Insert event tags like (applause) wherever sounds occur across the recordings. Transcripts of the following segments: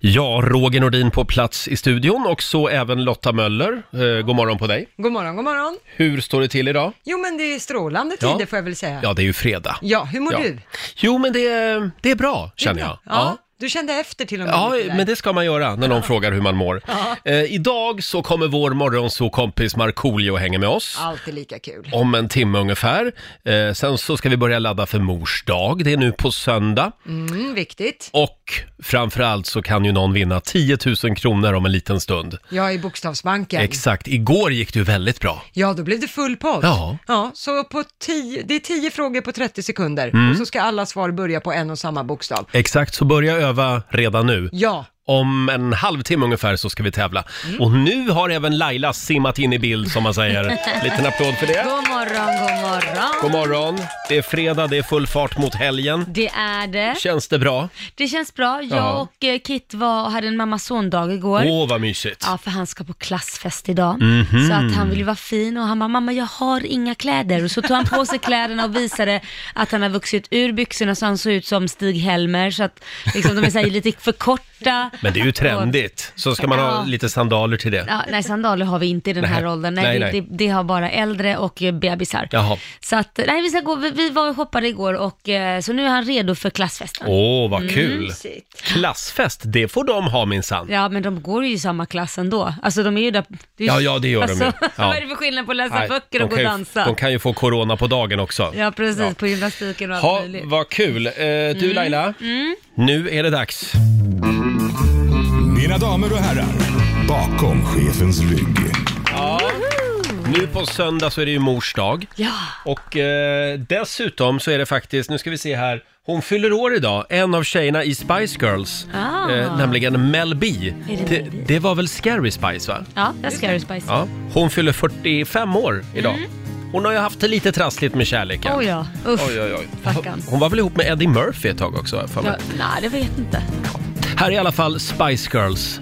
Ja, Roger Nordin på plats i studion och så även Lotta Möller. Eh, god morgon på dig. God morgon, god morgon. Hur står det till idag? Jo, men det är strålande Ja. tider får jag väl säga. Ja, det är ju fredag. Ja, hur mår Ja. du? Jo, men det, är- det är bra, känner jag. Ja. Du kände efter till och med Ja, lite där. men det ska man göra när någon frågar hur man mår. Eh, idag så kommer vår morgonsokompis Markoolio och hänger med oss. Alltid lika kul. Om en timme ungefär. Eh, sen så ska vi börja ladda för mors dag. Det är nu på söndag. Mm, viktigt. Och framförallt så kan ju någon vinna 10 000 kronor om en liten stund. Jag är i Bokstavsbanken. Exakt. Igår gick det ju väldigt bra. ja, då blev det full pott. Ja. ja så på tio, det är tio frågor på 30 sekunder Mm. och så ska alla svar börja på en och samma bokstav. Exakt, så börja öva redan nu. Ja, Om en halvtimme ungefär så ska vi tävla. Mm. Och nu har även Laila simmat in i bild som (laughs) man säger. Liten applåd för det. God morgon, god morgon. God morgon. Det är fredag, det är full fart mot helgen. Det är det. Känns det bra? Det känns bra. Ja. Jag och eh, Kit var, hade en mamma-son-dag igår. Åh, Mhm. vad mysigt. Ja, för han ska på klassfest idag. Så att han vill ju vara fin och han bara, mamma jag har inga kläder. Och så tog han på sig kläderna och visade att han har vuxit ur byxorna så han såg ut som Stig-Helmer. Så att liksom, de är så här, lite för korta. Men det är ju trendigt. Så ska man ha Ja. lite sandaler till det. Ja, nej, sandaler har vi inte i den här Nej. åldern. Nej, Nej, det- nej. Det, det har bara äldre och eh, bebisar. Jaha. Så att, nej, vi, ska gå, vi, vi var och hoppade igår och eh, så nu är han redo för klassfesten. Mm. Åh, vad kul. Mysigt. Klassfest, det får de ha minsann. Ja, men de går ju i samma klass ändå. Alltså de är ju där... det är- Ja, ja, det gör de ju. Ja. Vad är det för skillnad på att läsa Nej, böcker alltså, och gå kan och ju, dansa? de kan ju få corona på dagen också. Ja, precis. Ja. På gymnastiken och allt Ha, möjligt. Mm. vad kul. Eh, du Laila, nu är det dags. Mina damer och herrar, bakom chefens rygg. Nu på söndag så är det ju mors dag. Ja, Och eh, dessutom så är det faktiskt, nu ska vi se här, hon fyller år idag, en av tjejerna i Spice Girls, Ah. eh, nämligen Mel B. Är det Det, Mel B? det var väl Scary Spice va? ja där ska du spice. Ja. Hon fyller 45 år idag. Hon har ju haft det lite trassligt med kärleken. Mm. Oj ja, usch. Oj, oj, oj. Stackarn. Hon var väl ihop med Eddie Murphy ett tag också? har jag För mig. Ja, nej, det vet inte. Här är i alla fall Spice Girls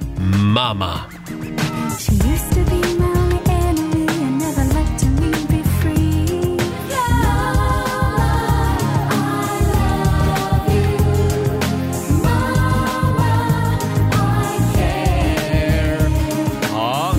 Mama. She used to be my enemy and never let me be free. I love you, Mama. I care. Ja.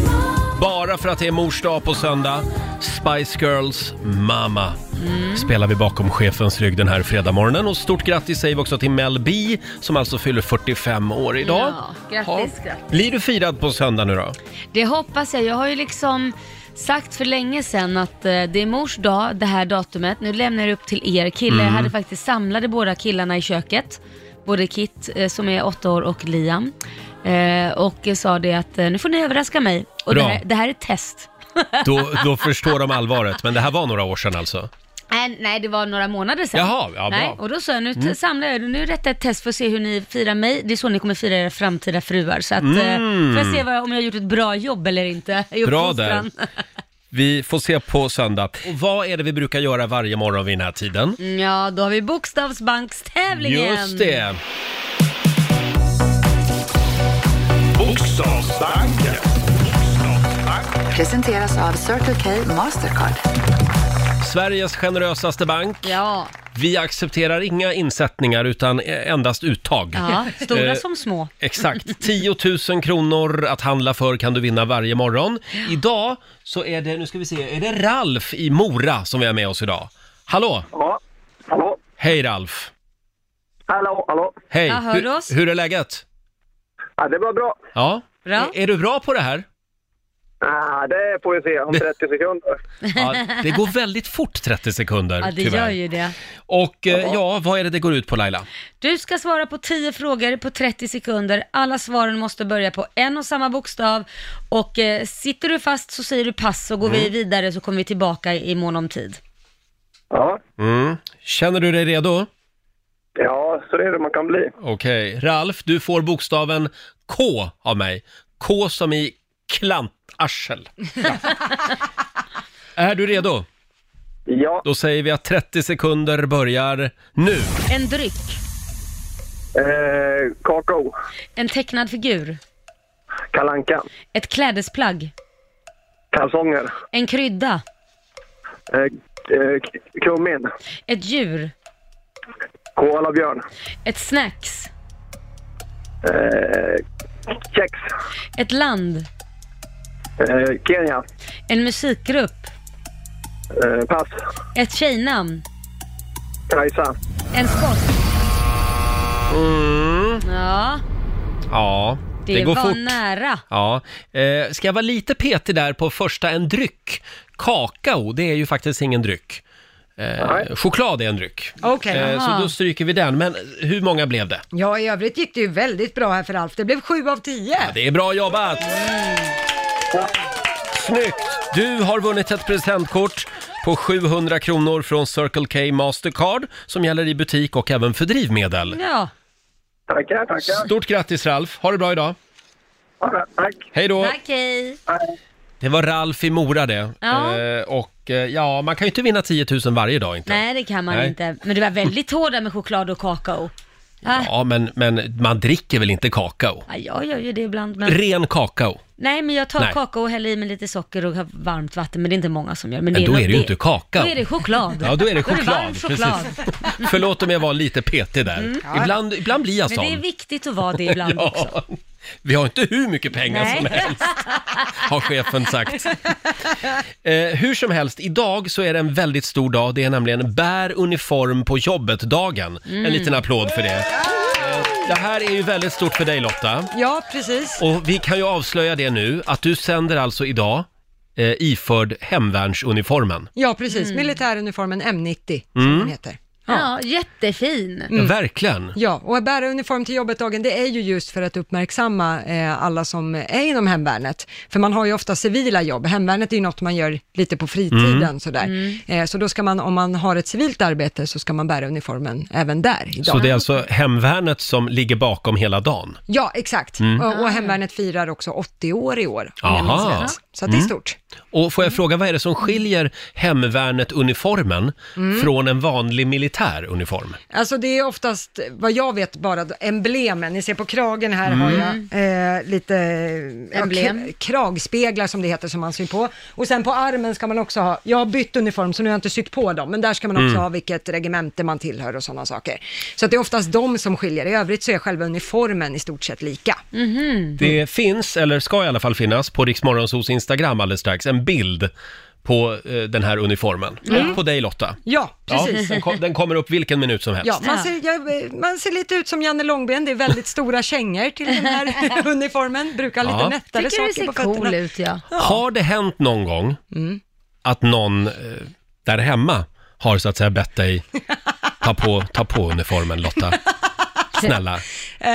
Bara för att det är mors dag på söndag, Spice Girls Mama Mm. spelar vi bakom chefens rygg den här fredagmorgonen. Och stort grattis säger vi också till Mel B som alltså fyller 45 år idag. Ja, grattis, grattis. Blir du firad på söndag nu då? Det hoppas jag. Jag har ju liksom sagt för länge sedan att eh, det är mors dag, det här datumet. Nu lämnar jag det upp till er. Kille, Mm. jag hade faktiskt samlade båda killarna i köket. Både Kit eh, som är åtta år och Liam. Eh, och jag sa det att eh, nu får ni överraska mig. Och det Bra. här, det här är ett test. Då, (laughs) då förstår de allvaret, men det här var några år sedan alltså. Nej, nej, det var några månader sedan. Jaha, ja, bra. Mm. nej, och då sa jag, nu t- samlar jag, nu är detta ett test för att se hur ni firar mig. Det är så ni kommer fira era framtida fruar. Så att, eh, får jag se vad, jag- om jag har gjort ett bra jobb eller inte (laughs) i Mm. Bra uppfostran. Vi får se på söndag. Och vad är det vi brukar göra varje morgon vid den här tiden? Mm, Ja, då har vi bokstavsbankstävlingen. Just det! Bokstavsbanken. Presenteras av Circle K Mastercard. Sveriges generösaste bank. Ja, Vi accepterar inga insättningar utan e- endast uttag. ja stora Eh, som små. Exakt. 10 000 kronor att handla för kan du vinna varje morgon. Idag så är det, nu ska vi se, är det Ralf i Mora som vi har med oss idag. Hallå! Ja. Hallå? Hej Ralf! Hallå, hallå. Hej! Jag hör hur, oss. hur är läget? Ja, det var bra. Ja. Bra. Är, är du bra på det här? Ja, det får vi se om 30 sekunder. Ja, (laughs) det går väldigt fort 30 sekunder Ja, det tyvärr. gör ju det. Och eh, ja, vad är det det går ut på Laila? Du ska svara på 10 frågor på 30 sekunder. Alla svaren måste börja på en och samma bokstav. Och eh, sitter du fast så säger du pass så går vi Mm. vidare så kommer vi tillbaka i mån om tid. Ja. Mm. Känner du dig redo? ja, så det är det man kan bli. Okej, Ralf, du får bokstaven K av mig. K som i (laughs) klantarsel. Ja. är du redo? Ja, Då säger vi att 30 sekunder börjar nu. En dryck, eh, kakao, en tecknad figur, kalanka, ett klädesplagg, kalsonger, en krydda, eh, eh, k- kummin, ett djur, koalabjörn, ett snacks, eh, Sex. Ett land. Eh, Kenya. En musikgrupp. Eh, pass. Ett tjejnamn. Kajsa. En sport. Ja, Mm. Ja, det, det, går var fort. nära. Ja. Eh, ska jag vara lite petig där på första, en dryck. Kakao, det är ju faktiskt ingen dryck. Eh, Nej. choklad är en dryck. Okej. Eh, Jaha. så då stryker vi den. Men hur många blev det? Ja, i övrigt gick det ju väldigt bra här för Alf. Det blev sju av tio. Det är bra jobbat! Snyggt! Du har vunnit ett presentkort på 700 kronor från Circle K Mastercard som gäller i butik och även för drivmedel. Ja, Tackar, tackar. Stort grattis Ralf, ha det bra idag. Ja, Tack. Hej då! tack hej. Det var Ralf i Mora det. Ja. Eh, och eh, ja, man kan ju inte vinna 10 000 varje dag inte. Nej, det kan man Nej. inte. Men du var väldigt hård där med choklad och kakao. Ah, Ja, men, men man dricker väl inte kakao? ja, jag gör ju det ibland. Men... Ren kakao, Nej, men jag tar Nej. kakao och häller i med lite socker och har varmt vatten, men det är inte många som gör. Men, men då nog- är det ju inte kakao. Då är det choklad. Ja, då är det choklad. varm choklad. (laughs) Precis. Förlåt om jag var lite petig där. Ibland, ibland blir jag Mm. Men sån. det är viktigt att vara det ibland också. (laughs) Ja, vi har inte hur mycket pengar Nej. som helst, har (laughs) chefen sagt. Eh, hur som helst, idag så är det en väldigt stor dag. Det är nämligen bär uniform på jobbet-dagen. Mm. En liten applåd för det. Eh, Det här är ju väldigt stort för dig Lotta. Ja, precis. Och vi kan ju avslöja det nu, att du sänder alltså idag eh, iförd hemvärnsuniformen. Ja, precis. Militäruniformen M90, som Mm. den heter. Mm. Mm. Ja, jättefin. Verkligen. Ja, och att bära uniform till jobbet-dagen, det är ju just för att uppmärksamma eh, alla som är inom hemvärnet. För man har ju ofta civila jobb. Hemvärnet är ju något man gör lite på fritiden Mm. sådär. Eh, så då ska man, om man har ett civilt arbete, så ska man bära uniformen även där idag. Så det är alltså hemvärnet som ligger bakom hela dagen. Ja, exakt. Och, och hemvärnet firar också 80 år i år, om jag Mm. Aha. Mm. minns rätt. Så att det är stort. Mm. Och får jag fråga, vad är det som skiljer hemvärnet-uniformen Mm. från en vanlig militär uniform? Alltså det är oftast, vad jag vet, bara emblemen. Ni ser på kragen här har jag eh, lite ja, Mm. Emblem. kra- kragspeglar som det heter som man syr på. Och sen på armen ska man också ha, jag har bytt uniform så nu har jag inte sytt på dem, men där ska man Mm. också ha vilket regemente man tillhör och sådana saker. Så att det är oftast de som skiljer. I övrigt så är själva uniformen i stort sett lika. Mhm. Mm. Det finns, eller ska i alla fall finnas, på Riksmorgonsos Instagram alldeles strax, en bild på eh, den här uniformen. På dig Lotta. Mm. Ja, precis. den, kom, den kommer upp vilken minut som helst. Ja, man, Ja. ser, jag, man ser lite ut som Janne Långben, det är väldigt stora kängor till (laughs) den här uniformen, brukar lite Ja. nättare Tycker du saker ser på cool fötterna. ut, ja. Har det hänt någon gång Mm. att någon eh, där hemma har så att säga bett dig ta på, ta på uniformen (laughs) Lotta? Snälla. Eh,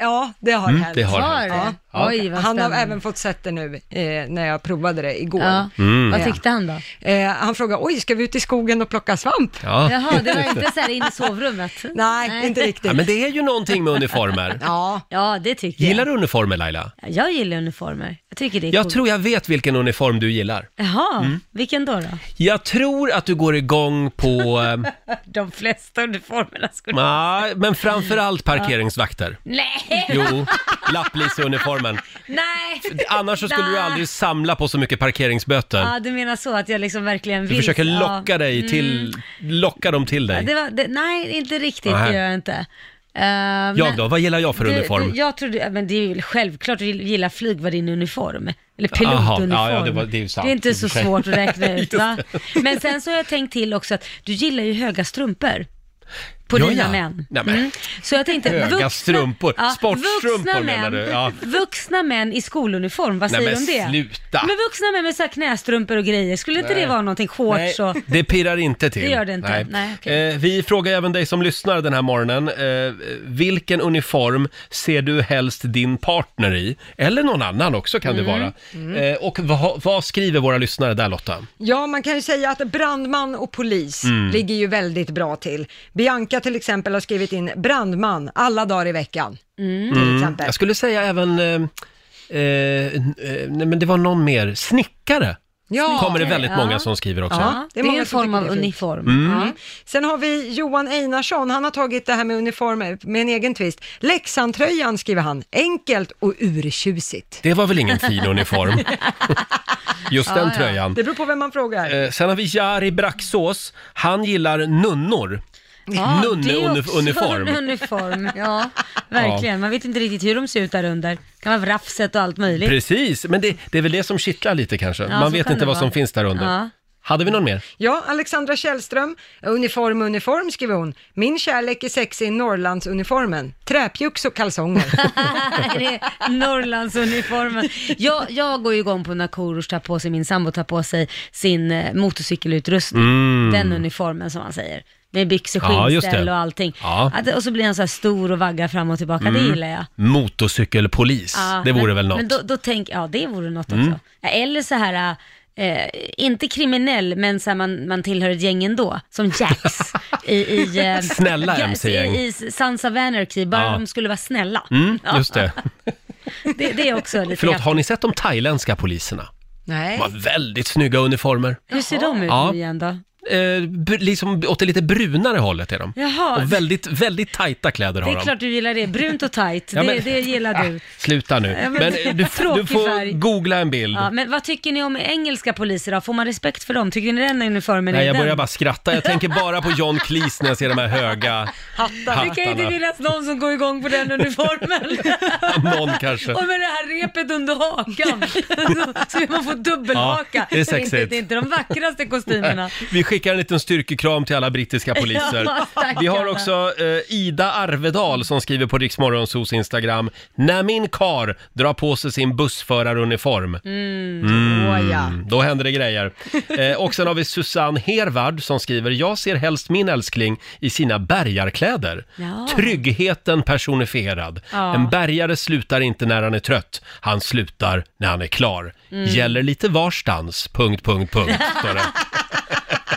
ja, det har hänt. Mm, det har Var hänt. det? Ja. Oj, vad Han har spännande. även fått sett det nu eh, när jag provade det igår. Ja. Mm. Vad Ja. tyckte han då? Eh, han frågade, oj, ska vi ut i skogen och plocka svamp? Ja. Jaha, det var inte så här in i sovrummet? Nej, inte ja, riktigt. men det är ju någonting med uniformer. Ja, (laughs) Ja, det tycker Gillar du uniformer Laila? jag. Jag gillar uniformer. Jag tycker det är Jag Mm. coolt. tror jag vet vilken uniform du gillar. Jaha, vilken då, då? Jag tror att du går igång på, eh, (laughs) De flesta uniformerna skulle... nej, men framförallt parkeringsvakter. Nej! Jo, lappliseuniformen. Nej! Annars så skulle du Nej. aldrig samla på så mycket parkeringsböter. Ja, du menar så att jag liksom verkligen vill... Du försöker ja. Mm. locka dig till, locka dem till Ja, dig. det var, det, nej, inte riktigt, Nej. det gör jag inte. Eh, men- Jag då, vad gillar jag för Du- uniform? du- Jag trodde, ja, men det är ju självklart att gilla flygvärdinneuniform. Eller Aha, pilotuniform. ja, ja, det var- det är ju sant, det är i inte och för så sig. svårt att (laughs) räkna ut. Just Va? Men sen så har jag tänkt till också att du gillar ju höga strumpor. På Ja, dina ja. män. Mm. Nej, men. Så jag tänkte, Höga vuxna, strumpor. Sportstrumpor vuxna män, menar du? Ja. Vuxna män i skoluniform, vad Nej, säger men du om det? sluta. Men vuxna män med så här knästrumpor och grejer, skulle inte det vara någonting? Shorts och... det pirrar inte till. Det gör det inte. Nej, okej. eh, vi frågar även dig som lyssnar den här morgonen. Eh, vilken uniform ser du helst din partner i? Eller någon annan också kan Mm, det vara. Eh, och vad, vad skriver våra lyssnare där Mm, Lotta? Ja, man kan ju säga att brandman och polis Mm. ligger ju väldigt bra till. Bianca till exempel har skrivit in brandman alla dagar i veckan. Mm. Till exempel. Mm. Jag skulle säga även... Eh, eh, eh, nej, men det var någon mer. Snickare! Ja. kommer det väldigt ja. många som skriver också. Ja, det många är en som form tycker av det är fint. uniform. Mm. Sen har vi Johan Einarsson, han har tagit det här med uniformer med en egen twist. Leksandtröjan skriver han, enkelt och urtjusigt. Det var väl ingen fin (laughs) uniform? Just den tröjan. Det beror på vem man frågar. Eh, Sen har vi Jari Braxås. Han gillar nunnor. Ja, det är också Nunneuniform. en uniform, (laughs) ja. Verkligen. Man vet inte riktigt hur de ser ut där under. Det kan vara vrafset och allt möjligt. Precis, men det, det är väl det som kittlar lite kanske. Ja, Man så vet kan inte det vad vara. som finns där under. Ja. Hade vi någon mer? Ja, Alexandra Källström, uniform, uniform skriver hon. Min kärlek är sexig i Norrlandsuniformen, träpjuks och kalsonger. (laughs) det är Norrlandsuniformen. Jag, jag går ju igång på när Korosh tar på sig, min sambo tar på sig sin eh, motorcykelutrustning. Den uniformen som han säger. Med byxor, Mm. Ja, just skinnställ det. och allting. Ja. Att, och så blir han så här stor och vaggar fram och tillbaka, det gillar jag. Mm. Motorcykelpolis, Ja, det vore men, väl något. Mm. Men då, då tänk, ja det vore något också. Ja, Eller så här, eh, inte kriminell, men så här, man, man tillhör ett gäng ändå. Som (laughs) Jax i, i, eh, Snälla ja, MC-gäng. I, i Sons of Anarchy, bara Ja. de skulle vara snälla. Mm, (laughs) just det. Det, det är också lite Förlåt, häftigt. har ni sett de thailändska poliserna? Nej. De har väldigt snygga uniformer. Hur ser de ut Ja. nu igen då? Eh, br- liksom åt det lite brunare hållet är de. Jaha. Och väldigt, väldigt tajta kläder Det har är de. klart du gillar det, brunt och tight, Ja, det, men- Ah, det gillar (laughs) du. Sluta nu. Ja, men men det- du, f- du tråkig färg. får googla en bild. Ja, men vad tycker ni om engelska poliser då? Får man respekt för dem? Tycker ni den uniformen Nej, är jag den? börjar bara skratta. Jag tänker bara på John Cleese när jag ser de här höga Det kan ju inte hattarna. finnas någon som går igång på den uniformen. (laughs) Någon kanske. Och med det här repet under hakan. (laughs) så vill man få Ja, dubbelhaka. det är Så inte, sexigt. det är inte de vackraste kostymerna. (laughs) Vi skickar en liten styrkekram till alla brittiska (laughs) poliser. Ja, stackarna. Vi har också eh, Ida Arvedal som skriver på Riksmorgonsos Instagram. När min kar drar på sig sin bussföraruniform, Mm. Åh, ja. Mm. då händer (laughs) det grejer. Eh, och sen har vi Susanne Hervard som skriver. Jag ser helst min älskling i sina bärgarkläder. Ja. Tryggheten personifierad. Ja. En bärgare slutar inte när han är trött. Han slutar när han är klar. Mm. Gäller lite varstans, punkt, (laughs) punkt, punkt. står det.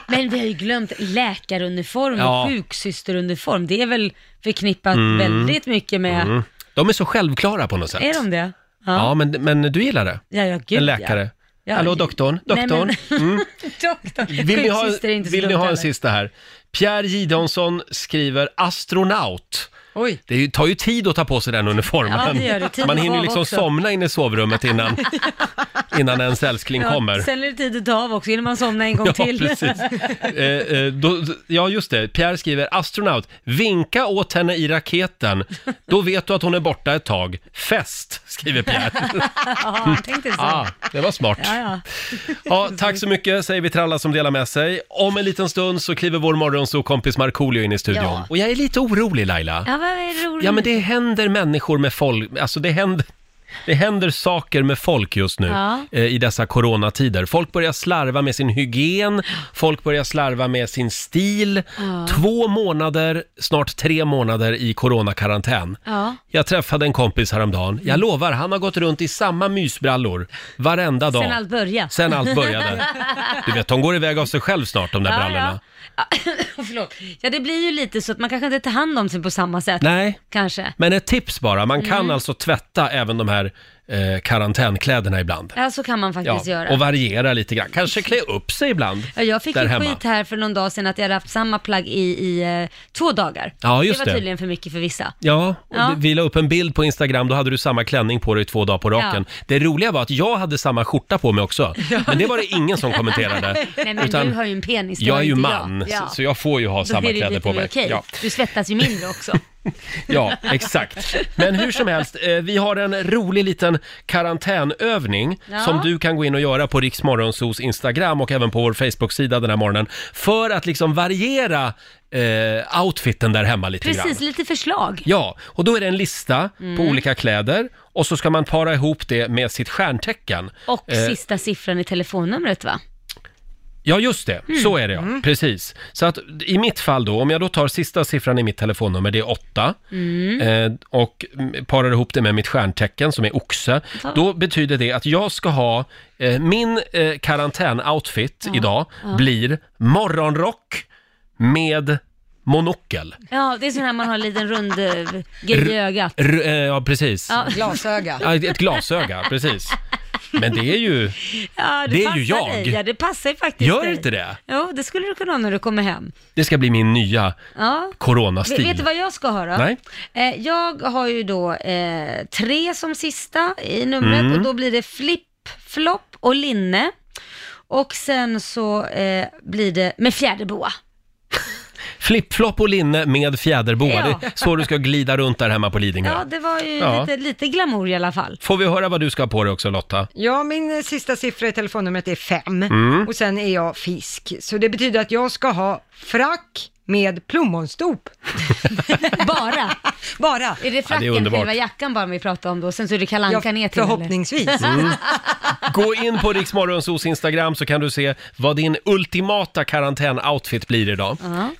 Men vi har ju glömt läkaruniform och Ja. Mm. sjuksysteruniform. Det är väl förknippat väldigt mycket med... De är så självklara på något sätt. Är de det? Ja, men, men du gillar det? Ja, ja gud en läkare? Ja. Hallå doktorn, doktorn. Mm. Nej, men... (laughs) doktorn. Vill ni ha, Sjuksyster är inte så vill ni dumt ha en heller. sista här? Pierre Gideonsson skriver astronaut. Oj. Det är ju- tar ju tid att ta på sig den uniformen. Ja, det gör det. Tid Man att hinner av liksom också. somna inne i (laughs) sovrummet innan, innan ens älskling kommer. Ja, sen är det tid att ta av också, innan man somnar (laughs) en gång Ja, till. precis. (laughs) Eh, eh, då, ja, just det. Pierre skriver astronaut. Vinka åt henne i raketen. Då vet du att hon är borta ett tag. Fest, skriver Pierre. (laughs) Ja, jag tänkte så. Ah, det var smart. Ja, ja. Ja, tack så mycket säger vi till alla som delar med sig. Om en liten stund så kliver vår morgonsåkompis Markoolio in i studion. Ja. Och jag är lite orolig Laila. ja, vad är roligt. Ah. Ja, men det händer människor med folk, alltså det händer... Det händer saker med folk just nu Ja. eh, i dessa coronatider. Folk börjar slarva med sin hygien, folk börjar slarva med sin stil. Två månader, snart tre månader i coronakarantän. Ja. Mm. Jag träffade en kompis häromdagen. Jag lovar, han har gått runt i samma mysbrallor varenda dag. Sen allt började. Sen (laughs) allt började. Du vet, de går iväg av sig själv snart de där brallorna. Ja. (clears throat) Ja, Förlåt. Ja, det blir ju lite så att man kanske inte tar hand om sig på samma sätt. Nej, Kanske. men ett tips bara. Man kan Mm. alltså tvätta även de här eh, karantänkläderna ibland. Ja, så kan man faktiskt göra. och variera lite grann. Kanske klä upp sig ibland Ja, jag fick där ju hemma. skit här för någon dag sedan att jag hade haft samma plagg i, i eh, två dagar. Ja, just det var det. tydligen för mycket för vissa. Ja, och Ja. vi la upp en bild på Instagram, då hade du samma klänning på dig två dagar på raken. Det roliga var att jag hade samma skorta på (laughs) mig också, men det var det ingen som kommenterade. Nej, men Utan du har ju en penis. det Jag har är ju inte man, jag. Ja. så, så jag får ju ha Då samma är det kläder lite på mig. mer okej. Ja. Du svettas ju mindre (laughs) också. Ja, exakt. Men hur som helst, eh, vi har en rolig liten karantänövning Ja. som du kan gå in och göra på Riksmorgonsos Instagram och även på vår Facebook-sida den här morgonen för att liksom variera eh, outfiten där hemma lite grann. Precis, Mm. lite förslag. Ja, och då är det en lista på olika kläder och så ska man para ihop det med sitt stjärntecken. Och Eh, sista siffran i telefonnumret va? Ja, just det. Mm. Så är det, ja. Precis. Så att i mitt fall då, om jag då tar sista siffran i mitt telefonnummer, det är åtta, eh, och mm, parar ihop det med mitt stjärntecken som är oxe, Ta- då betyder det att jag ska ha, eh, min eh, karantänoutfit idag blir morgonrock med monokel. Ja, det är sån här man har en liten rund eh, grej i ögat. R- eh, ja, precis. Ja. Glasöga. Ja, Ett glasöga, precis. Men det är ju... Ja, Det är ju passar jag. Dig. Ja, det passar ju faktiskt Gör dig. inte det? Jo, det skulle du kunna ha när du kommer hem. Det ska bli min nya Ja. Vet, coronastil. vet du vad jag ska ha då? Nej. Eh, jag har ju då eh, tre som sista i numret Mm. och då blir det flipp, flopp och linne. Och sen så eh, blir det med fjäderboa. Flipflop och linne med fjäderboa. Ja. Det är så du ska glida runt där hemma på Lidingö. Ja, det var ju (laughs) Ja. Lite, lite glamour i alla fall. Får vi höra vad du ska ha på dig också Lotta? Ja, min eh, sista siffra i telefonnumret är fem Mm. och sen är jag fisk. Så det betyder att jag ska ha frack med plommonstop. (laughs) Bara. Bara. Är det fracken, underbart. själva jackan bara vi pratar om då, sen så är det Kalle Ja, Anka ner till? eller? (laughs) förhoppningsvis. Mm. Gå in på Riksmorgonsos Instagram så kan du se vad din ultimata karantänoutfit blir idag.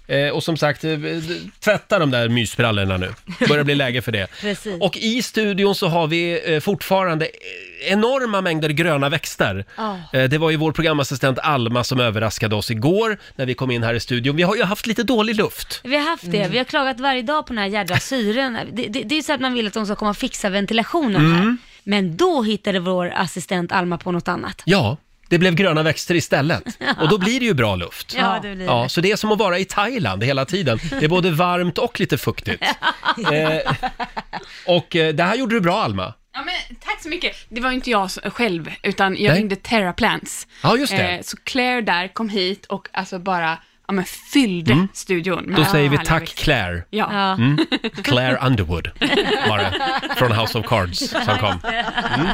Eh, och som sagt, eh, d- tvätta de där mysbrallorna nu. Börjar bli läge för det. Precis. Och i studion så har vi eh, fortfarande eh, enorma mängder gröna växter. Ja. Eh, det var ju vår programassistent Alma som överraskade oss igår när vi kom in här i studion. Vi har ju haft lite dålig luft. Vi har haft det. Mm. Vi har klagat varje dag på den här jädra syren. Det, det, det är så att man vill att de ska komma och fixa ventilationen Mm. här. Men då hittade vår assistent Alma på något annat. Ja, det blev gröna växter istället. Och då blir det ju bra luft. Ja, det blir det. Ja, så det är som att vara i Thailand hela tiden. Det är både varmt och lite fuktigt. Eh, och eh, det här gjorde du bra, Alma. (laughs) Ja, men tack så mycket. Det var ju inte jag s- själv, utan jag Nej. ringde Terraplants. Ja, just det. så Claire där kom hit och alltså bara ja, men fyllde studion. med Mm. Då säger vi härliga tack växter. Claire. Mm. Ja. Ja. (laughs) Claire Underwood var det, från House of Cards som kom. Mm.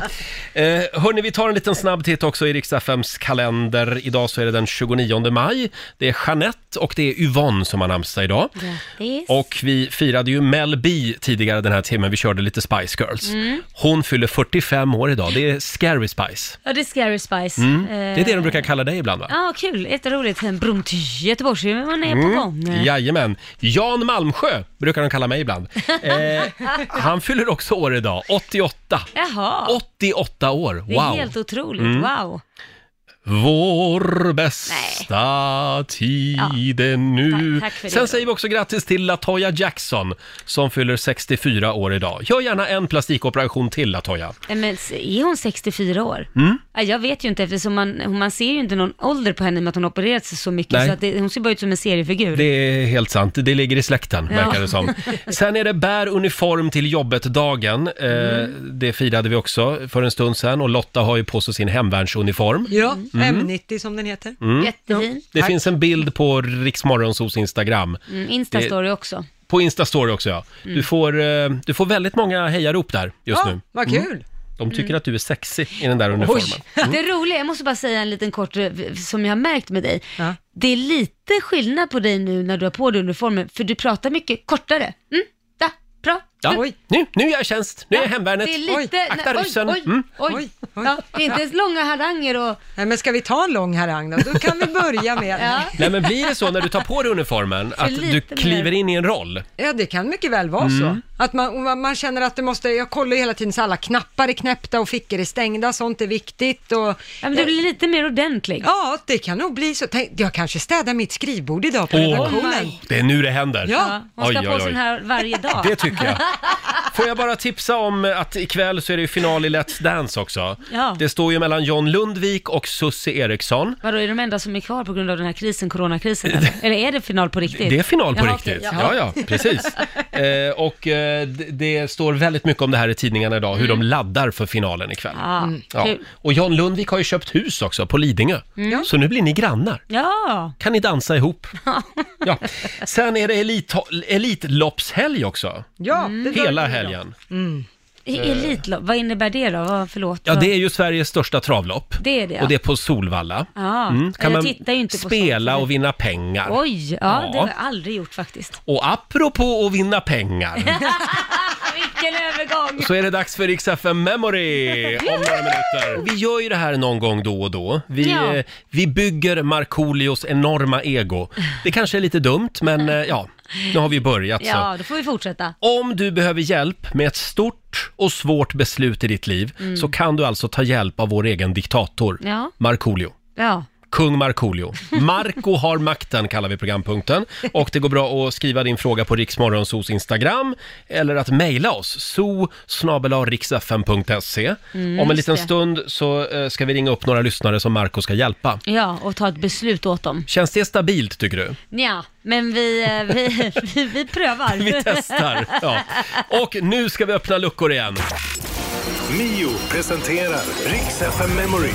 Eh, hörni, vi tar en liten snabb titt också i Riks-FMs kalender. Idag så är det den 29 maj. Det är Jeanette och det är Yvonne som har namnsdag idag. (laughs) Grattis. Och vi firade ju Mel B tidigare den här timmen, vi körde lite Spice Girls. Mm. Hon fyller 45 år idag, det är Scary Spice. Ja, det är Scary Spice. Mm. Eh, Det Eh. är det de brukar kalla dig ibland va? Ja, kul. Jätteroligt. En Brom till Göteborg, så man är Mm. på gång. Jajamän. Jan Malmsjö brukar de kalla (laughs) mig ibland. Eh, han fyller också år idag, 88. Jaha. 88 år, Det är wow! Mm. helt otroligt. Wow. Vår bästa tid är nu. Ta- tack för det Sen då. säger vi också grattis till Latoya Jackson som fyller 64 år idag. Gör gärna en plastikoperation till Latoya. Nej, Eh, Men är hon 64 år? Mm. Ja, jag vet ju inte eftersom man, man ser ju inte någon ålder på henne med att hon opererat sig så mycket. Nej. Så att det, hon ser bara ut som en seriefigur. Det är helt sant. Det ligger i släkten, Ja. verkar det som. Sen är det bär uniform till jobbet-dagen. Eh, Det firade vi också för en stund sedan och Lotta har ju på sig sin hemvärnsuniform. Mm. Ja, Mm. M90 som den heter. Jättefin. Det finns en bild på Riksmorgonsos Instagram. Mm, Insta-story också. På Instastory också ja. Du, får, eh, du får väldigt många hejarop där just Ja, nu. Mm. vad kul! De tycker att du är sexig i den där (laughs) uniformen. Mm. Mm. Det roliga, jag måste bara säga en liten kort eh, v- som jag har märkt med dig. Ja. Det är lite skillnad på dig nu när du har på dig uniformen, för du pratar mycket kortare. Mm, da, bra. Ja. Oj. Nu, nu är jag i tjänst, nu är jag i hemvärnet. Det är lite... Oj, akta nej, ryssen. Oj, Mm. oj, oj. Oj, oj. Ja, det är inte ens långa haranger och... Nej, men ska vi ta en lång harang då? Då kan vi börja med... Ja. ja. Nej men blir det så när du tar på dig uniformen att du lite mer- kliver in i en roll? det kan mycket väl vara Mm. så. Att man, och man- man känner att det måste, jag kollar ju hela tiden så alla knappar är knäppta och fickor är stängda, sånt är viktigt och... Ja, men du blir lite mer ordentlig. Ja, det kan nog bli så. Tänk, jag kanske städar mitt skrivbord idag på Åh. redaktionen. Det är nu det händer. Ja. Ja, hon ska Oj, på oj, sig oj. den här varje (laughs) dag. Det tycker jag. Får jag bara tipsa om att ikväll så är det ju final i Let's Dance också. Ja. Det står ju mellan John Lundvik och Sussi Eriksson. Vadå, är de enda som är kvar på grund av den här krisen, (laughs) coronakrisen? Eller, eller är det final på riktigt? Det är final på Jaha, riktigt. okej, ja. ja, (laughs) precis. Eh, och eh, d- det står väldigt mycket om det här i tidningarna idag, hur de laddar för finalen ikväll. Mm. Ja, Mm. Ja. kul. Mm. Och John Lundvik har ju köpt hus också på Lidingö. Så nu blir ni grannar. Ja, Kan ni dansa (laughs) ihop? Ja. Sen är det elit, Elitloppshelg också. Ja, det Mm. drar Hela vi idag. helgen. E- elitlopp, Mm. vad innebär det då? Vad, förlåt. Ja, vad- det är ju Sveriges största travlopp. Det är det, ja. Och det är på Solvalla. Mm. Ja, Kan jag man tittar ju inte på spela sånt. och vinna pengar. Oj, ja, det har Ja. jag aldrig gjort faktiskt. (laughs) Och apropå att vinna pengar Vilken övergång! så är det dags för Rix FM Memory om några minuter. Och vi gör ju det här någon gång då och då. Vi, Ja. eh, vi bygger Markoolios enorma ego. Det kanske är lite dumt, (laughs) men eh, ja, nu har vi börjat så. Ja, då får vi fortsätta. Om du behöver hjälp med ett stort och svårt beslut i ditt liv så kan du alltså ta hjälp av vår egen diktator, Mm. Ja. Markoolio. Ja, Kung Markoolio. Marco har makten kallar vi programpunkten. Och det går bra att skriva din fråga på Riksmorgonsos Instagram eller att mejla oss, so Om en Mm, just liten det. stund så eh, ska vi ringa upp några lyssnare som Marco ska hjälpa. ja, och ta ett beslut åt dem. Känns det stabilt tycker du? Ja, men vi, eh, vi, (laughs) vi, vi prövar. (laughs) (laughs) Vi testar. Ja. Och nu ska vi öppna luckor igen. Mio presenterar Riks FM Memory.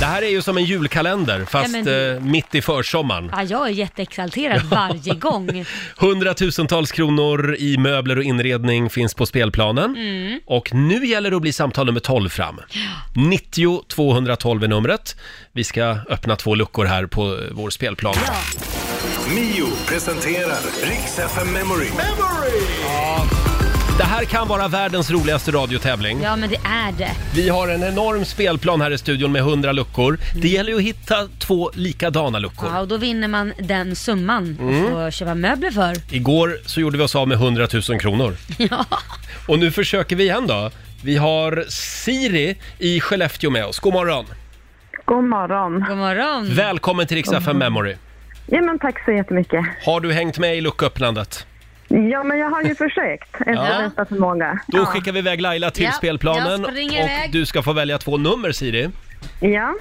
Det här är ju som en julkalender, fast Ja, men- eh, mitt i försommaren. Ja, jag är jätteexalterad varje gång. Hundratusentals kronor i möbler och inredning finns på spelplanen. Mm. Och nu gäller det att bli samtal nummer 12 fram. 90 212 är numret. Vi ska öppna två luckor här på eh, vår spelplan. Mio presenterar Rix FM Memory. Det här kan vara världens roligaste radiotävling. Ja, men det är det. Vi har en enorm spelplan här i studion med 100 luckor. Mm. Det gäller ju att hitta två likadana luckor. Ja, och då vinner man den summan Mm. och får köpa möbler för. Igår så gjorde vi oss av med 100 000 kronor. Ja. Och nu försöker vi igen då. Vi har Siri i Skellefteå med oss. God morgon! Mm. God morgon. God morgon. Välkommen till Riksdag 5 Memory. Ja, men tack så jättemycket. Har du hängt med i lucköppnandet? Ja, men jag har ju försökt efter Ja. bästa förmåga. Då skickar vi iväg Laila till Ja, spelplanen jag och springer iväg. du ska få välja två nummer Siri. Ja,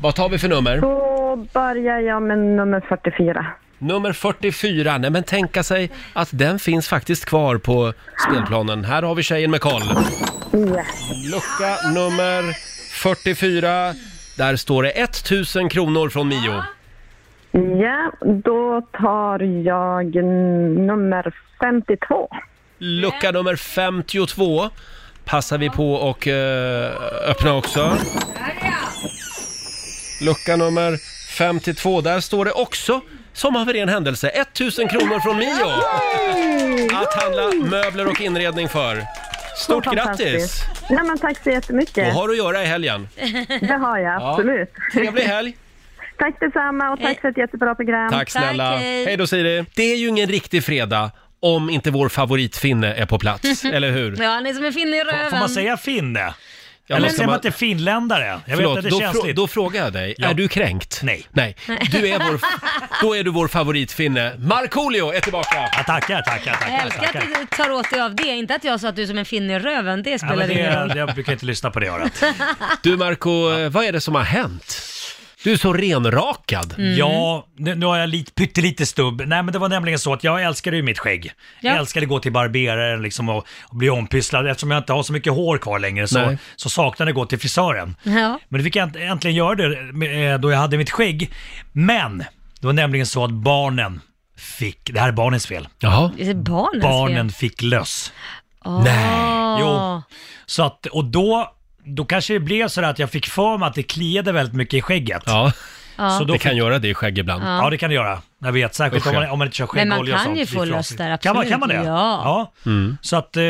Vad tar vi för nummer? då börjar jag med nummer 44. Nummer 44. Nej men tänka sig att den finns faktiskt kvar på spelplanen. Här har vi tjejen med koll. Yes. Lucka nummer 44. Där står det 1000 kronor från Mio. Ja, då tar jag nummer 52. Lucka nummer 52 passar vi på och eh, öppna också. Lucka nummer 52, där står det också som av en ren händelse 1000 kronor från Mio att handla möbler och inredning för. Stort Fantastiskt. grattis! Nej, men tack så Och jättemycket. har att göra i helgen. Det har jag absolut. Trevlig helg! Tack detsamma och tack för ett jättebra program. Tack snälla. Tack, hej. hej då Siri. Det är ju ingen riktig fredag om inte vår favoritfinne är på plats, eller hur? Ja, han är som en finne i röven. Får man säga finne? Ja, Eller men säger man inte finländare? Jag vet Förlåt, att det då, är frå- känsligt. då frågar jag dig, Ja. är du kränkt? Nej. Nej. Du är (laughs) vår, då är du vår favoritfinne. Markoolio är tillbaka! Ja, tackar, tackar, Jag tackar. älskar tackar. att du tar åt dig av det. Inte att jag sa att du är som en finne i röven, det Ja, spelar men ingen det, roll. jag brukar inte lyssna på det örat. Du Marco, eh, vad är det som har hänt? Du är så renrakad. Mm. Ja, nu, nu har jag lite, pyttelite stubb. Nej, men det var nämligen så att jag älskade ju mitt skägg. Jag älskade att gå till barberaren liksom och, och bli ompysslad. Eftersom jag inte har så mycket hår kvar längre så, Nej. så saknade jag att gå till frisören. (laughs) Ja. Men det fick jag änt- äntligen göra det med- eh, då jag hade mitt skägg. Men det var nämligen så att barnen fick, det här är barnens fel, Jaha. Det är barnens barnen fel. fick löss. Nej. Jo. Så att, och då, då kanske det blev så där att jag fick för mig att det kliade väldigt mycket i skägget. Ja, Så då det fick- kan göra det i skägg ibland. Ja. det kan det göra. Jag vet, särskilt Usch, om man, ja. om man inte kör Men man skäggolja och kan sånt. ju Det är få trasigt. löss där, Kan man, absolut. kan man det? Ja. Så att, eh,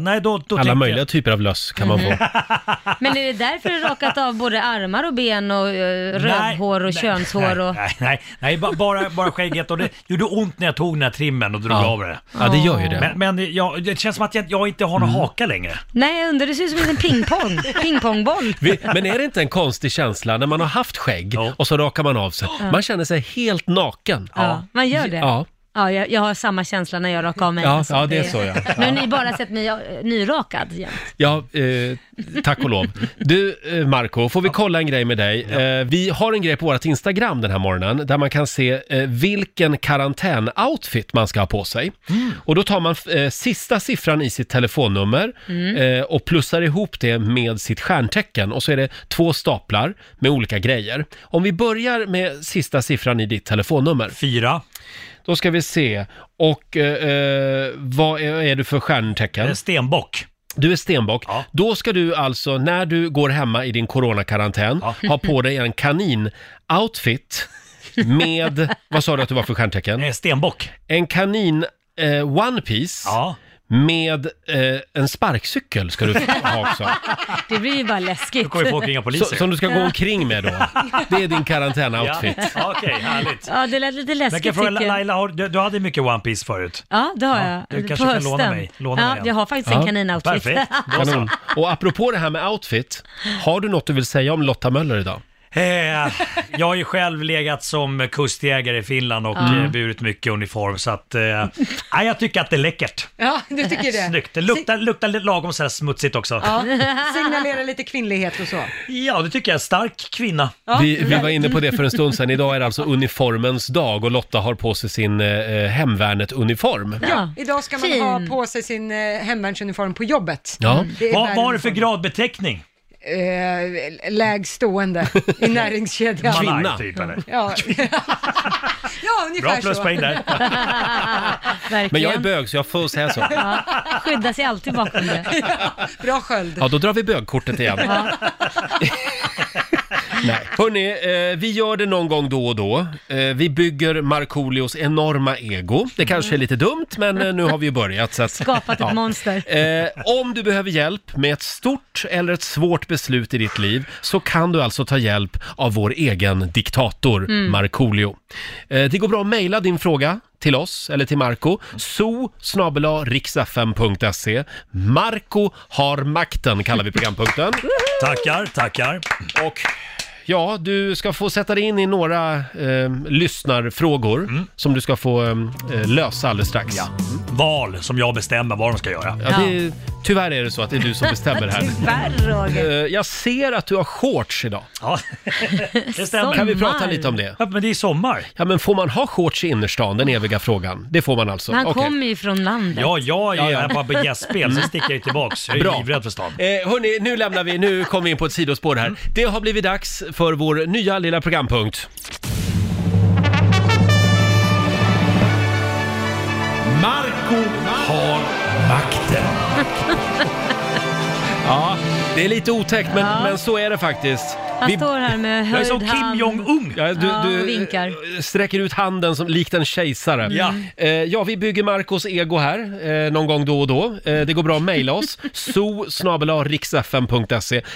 nej då, då Mm. Alla tänker möjliga jag, typer av löss kan man Mm-hmm. få. Men är det därför du rakat av både armar och ben och eh, rövhår och nej, könshår och... Nej, nej, nej, nej ba- bara, bara skägget och det gjorde ont när jag tog den här trimmen och drog Ja. av det. Ja, det gör ju det. Mm. Men, men jag, det känns som att jag, jag inte har någon haka längre. Nej, jag undrar, det ser ut som en liten (laughs) pingpong. Pingpongboll. Vi, men är det inte en konstig känsla när man har haft skägg Ja. och så rakar man av sig? Man känner sig helt naken. Ja, man gör det. Ja, Ja, jag, jag har samma känsla när jag rakar av mig. ja, Alltså, ja det är så ja. (laughs) Nu har ni bara sett mig eh, nyrakad jämt. Ja, eh, tack och lov. Du, eh, Marco, får vi kolla en grej med dig? Eh, vi har en grej på vårt Instagram den här morgonen där man kan se eh, vilken karantänoutfit man ska ha på sig. Och då tar man eh, sista siffran i sitt telefonnummer Mm. eh, och plussar ihop det med sitt stjärntecken och så är det två staplar med olika grejer. Om vi börjar med sista siffran i ditt telefonnummer. Fyra, Då ska vi se. Och eh, eh, vad är, är du för stjärntecken? eh, stenbock. Du är stenbock. Ja. Då ska du alltså, när du går hemma i din coronakarantän, Ja. ha på dig en (laughs) kanin-outfit med, vad sa du att du var för stjärntecken? Eh, stenbock. En kanin eh, one piece Ja. med eh, en sparkcykel ska du ha också. (laughs) Det blir ju bara Då läskigt. kommer ju folk ringa Så, poliser. som du ska gå (laughs) omkring med då. Det är din karantän-outfit. Ja, ja, okej, härligt. Ja, det lät lite Men kan jag läskigt fråga tycker jag. Laila, har- du, du hade mycket One Piece förut. Ja, det har Ja, jag. du kanske På kan låna hösten. mig- låna mig ja, en. jag har faktiskt Ja, en kaninoutfit. (laughs) Perfekt. Då så. Kanon. Och apropå det här med outfit, har du något du vill säga om Lotta Möller idag? Eh, jag har ju själv legat som kustjägare i Finland och eh, burit mycket uniform så att... Eh, nej, jag tycker att det är läckert. Ja, du tycker det. Snyggt. Det luktar, luktar lite lagom så här smutsigt också. Ja. Ja, signalera lite kvinnlighet och så. det tycker jag. Stark kvinna. Vi, vi var inne på det för en stund sedan. Idag är det alltså uniformens dag och Lotta har på sig sin eh, Hemvärnet-uniform. Ja. Idag ska man Fin. ha på sig sin eh, hemvärnsuniform på jobbet. Ja. Det är Vad världens var det för uniform. gradbeteckning? (laughs) eh, lägstående (laughs) i näringskedjan. Kvinna. Typ, eller? Ja, (laughs) ja ungefär Bra så. pluspoäng där. Men jag (laughs) alltså- är Verkligen. bög så jag får säga så. Ja, skydda sig alltid bakom det. Bra sköld. Ja, då drar vi bögkortet igen. Nej. Hörrni, eh, vi gör det någon gång då och då. Eh, vi bygger Markoolios enorma ego. Det kanske är lite dumt, men eh, nu har vi ju börjat. Så att, Skapat ett ja. monster. Eh, om du behöver hjälp med ett stort eller ett svårt beslut i ditt liv så kan du alltså ta hjälp av vår egen diktator Mm. Markoolio. Eh, det går bra att mejla din fråga till oss eller till Marco. so riksfm.se. Marco har makten kallar vi programpunkten. Tackar, tackar. Och ja, du ska få sätta dig in i några eh, lyssnarfrågor Mm. som du ska få eh, lösa alldeles strax. Val som jag bestämmer vad de ska göra. Ja, det är, tyvärr är det så att det är du som bestämmer här. (laughs) Tyvärr Roger. Eh, Jag ser att du har shorts idag. Ja, det stämmer. Kan vi prata lite om det? Ja, men det är sommar. Ja, men får man ha shorts i innerstan? Den eviga frågan. Det får man alltså. Men han Okej. kommer ju från landet. Ja, jag är Ja, ju ja. här bara på gästspel, så sticker jag ju tillbaks. Jag är Bra. ju livrädd för stan. Mm. Eh, hörni, nu lämnar vi, nu kommer vi in på ett sidospår här. Det har blivit dags för vår nya lilla programpunkt. Marco har makten. Ja, det är lite otäckt men, Ja. men så är det faktiskt. (laughs) Han Vi- står här med Jag är höjd som Kim hand. Jong-Un. Ja, du, Ja, du och vinkar. eh, sträcker ut handen som likt en kejsare. Ja. Eh, ja, vi bygger Marcos ego här eh, någon gång då och då. Eh, det går bra att mejla (laughs) oss. so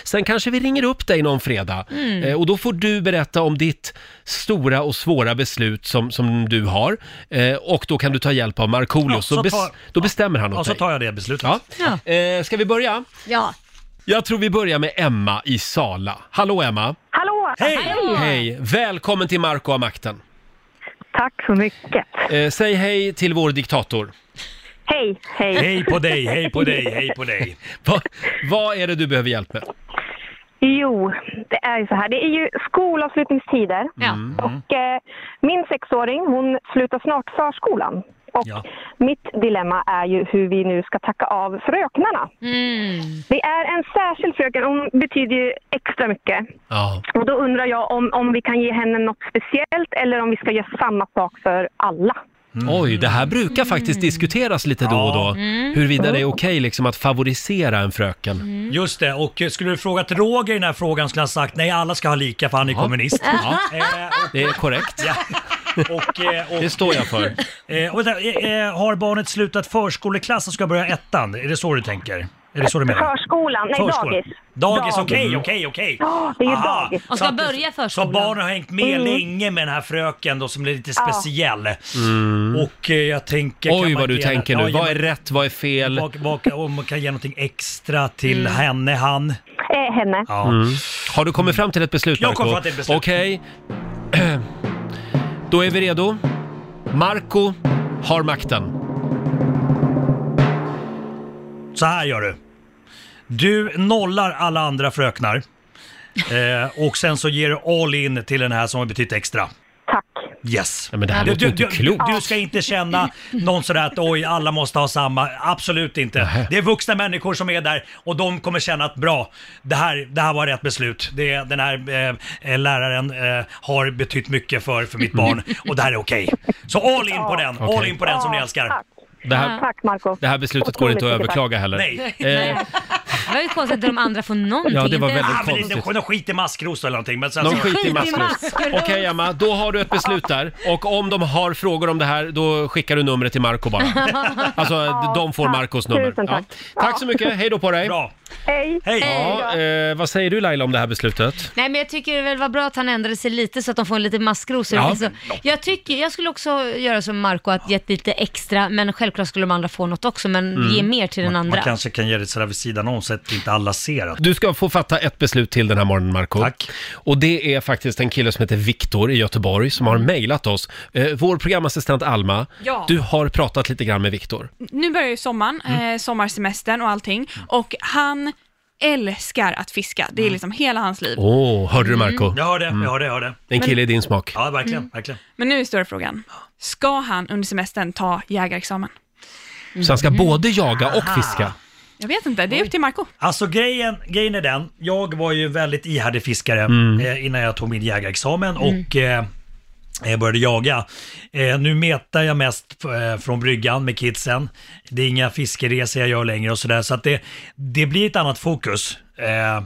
Sen kanske vi ringer upp dig någon fredag Mm. eh, och då får du berätta om ditt stora och svåra beslut som, som du har. Eh, och då kan du ta hjälp av Markoolio. Ja, så så bes- tar- då bestämmer han åt Ja, så dig. tar jag det beslutet. Ja. Ja. Eh, ska vi börja? Ja. Jag tror vi börjar med Emma i Sala. Hallå Emma! Hallå! Hej! Hej! Välkommen till Marco av makten. Tack så mycket. Eh, säg hej till vår diktator. Hej, hej. Hej på dig, hej på dig, hej på dig. Va, vad är det du behöver hjälp med? Jo, det är ju så här. Det är ju skolavslutningstider. Ja. Mm. Och eh, min sexåring, hon slutar snart förskolan. Och Ja. mitt dilemma är ju hur vi nu ska tacka av fröknarna. Mm. Det är en särskild fröken, hon betyder ju extra mycket. Ja. Och då undrar jag om, om vi kan ge henne något speciellt eller om vi ska göra samma sak för alla. Oj, det här brukar faktiskt diskuteras lite då och då. Huruvida det är okej liksom att favorisera en fröken. Just det, och eh, skulle du frågat Roger i den här frågan skulle han sagt nej, alla ska ha lika för han är kommunist. Ja, Eh, det är korrekt. och, och, eh, (laughs) och, Det står jag för. (laughs) eh, och, vänta, eh, eh, har barnet slutat förskoleklass och ska börja ettan? Är det så du tänker? Är det så du menar? Förskolan, nej Förskola. dagis. Dagis, okej, okej, okej. Ja, det är ju Aha, dagis. Och så ska att- börja Så förskolan. barnen har hängt Mm. med länge med den här fröken då som är lite speciell. Och eh, jag tänker... kan Mm. Oj, man vad du ge- tänker ja, nu. ge- Vad är rätt, vad är fel? vad- vad- Om man kan ge någonting extra till henne, han. Mm. Eh, henne. Ja. Mm. Har du kommit fram till ett beslut, Jag har kommit Marco? fram till ett beslut. Okej. Då är vi redo. Marco har makten. Så här gör du. Du nollar alla andra (laughs) fröknar. Eh, och sen så ger du all in till den här som har betytt extra. Tack. Yes. Ja, men det här Du, låter du, inte du, klokt. du ska inte känna någon sådär att oj, alla måste ha samma. Absolut inte. Det är vuxna människor som är där och de kommer känna att bra, det här, det här var rätt beslut. Det, den här eh, eh, läraren eh, har betytt mycket för, för mitt barn Mm. och det här är okej. Så all in på den, all Okej. in på den som ni Ja, älskar. Tack, Det här, tack Marco. det här beslutet går inte att Otroligt mycket tack. överklaga heller. Nej. Eh, Det var ju konstigt att de andra får någonting. Ja, det var Inte- väldigt Ah, men det, de, de skiter i maskros eller någonting. Men sen, De så, skiter i Skit i maskros. maskros. Okej Emma, då har du ett beslut där. Och om de har frågor om det här, då skickar du numret till Marco bara. (laughs) (laughs) Alltså, de får tack. Marcos nummer. Tusen tack. tack så mycket, hej då på dig. bra. Hej. Hej! Ja, eh, vad säger du Laila om det här beslutet? Nej men jag tycker det väl var bra att han ändrade sig lite så att de får lite maskrosor. Ja. Alltså, jag, tycker, jag skulle också göra som Marco att gett lite extra men självklart skulle de andra få något också men Mm. ge mer till den andra. Man kanske kan ge det sådär vid sidan om så att inte alla ser att... Du ska få fatta ett beslut till den här morgonen Marco. Tack. Och det är faktiskt en kille som heter Viktor i Göteborg som har mejlat oss. Eh, vår programassistent Alma, Ja. du har pratat lite grann med Viktor. Nu börjar ju sommaren, Mm. eh, sommarsemestern och allting och han älskar att fiska. Det är liksom hela hans liv. Mm. Åh, hörde du Marco? Mm. Mm. Mm. Jag hör det, jag hör det, jag hör det. En kille i din smak. Ja, verkligen, verkligen. Men nu är stora frågan, ska han under semestern ta jägarexamen? Mm. Så han ska både jaga och fiska. Jag vet inte, Mm. det är upp till Marco. Alltså grejen, grejen är den, jag var ju väldigt ihärdig fiskare Mm. eh, innan jag tog min jägarexamen Mm. och eh, jag började jaga. Eh, nu metar jag mest eh, från bryggan med kidsen. Det är inga fiskeresor jag gör längre och sådär. Så att det, det blir ett annat fokus. Eh,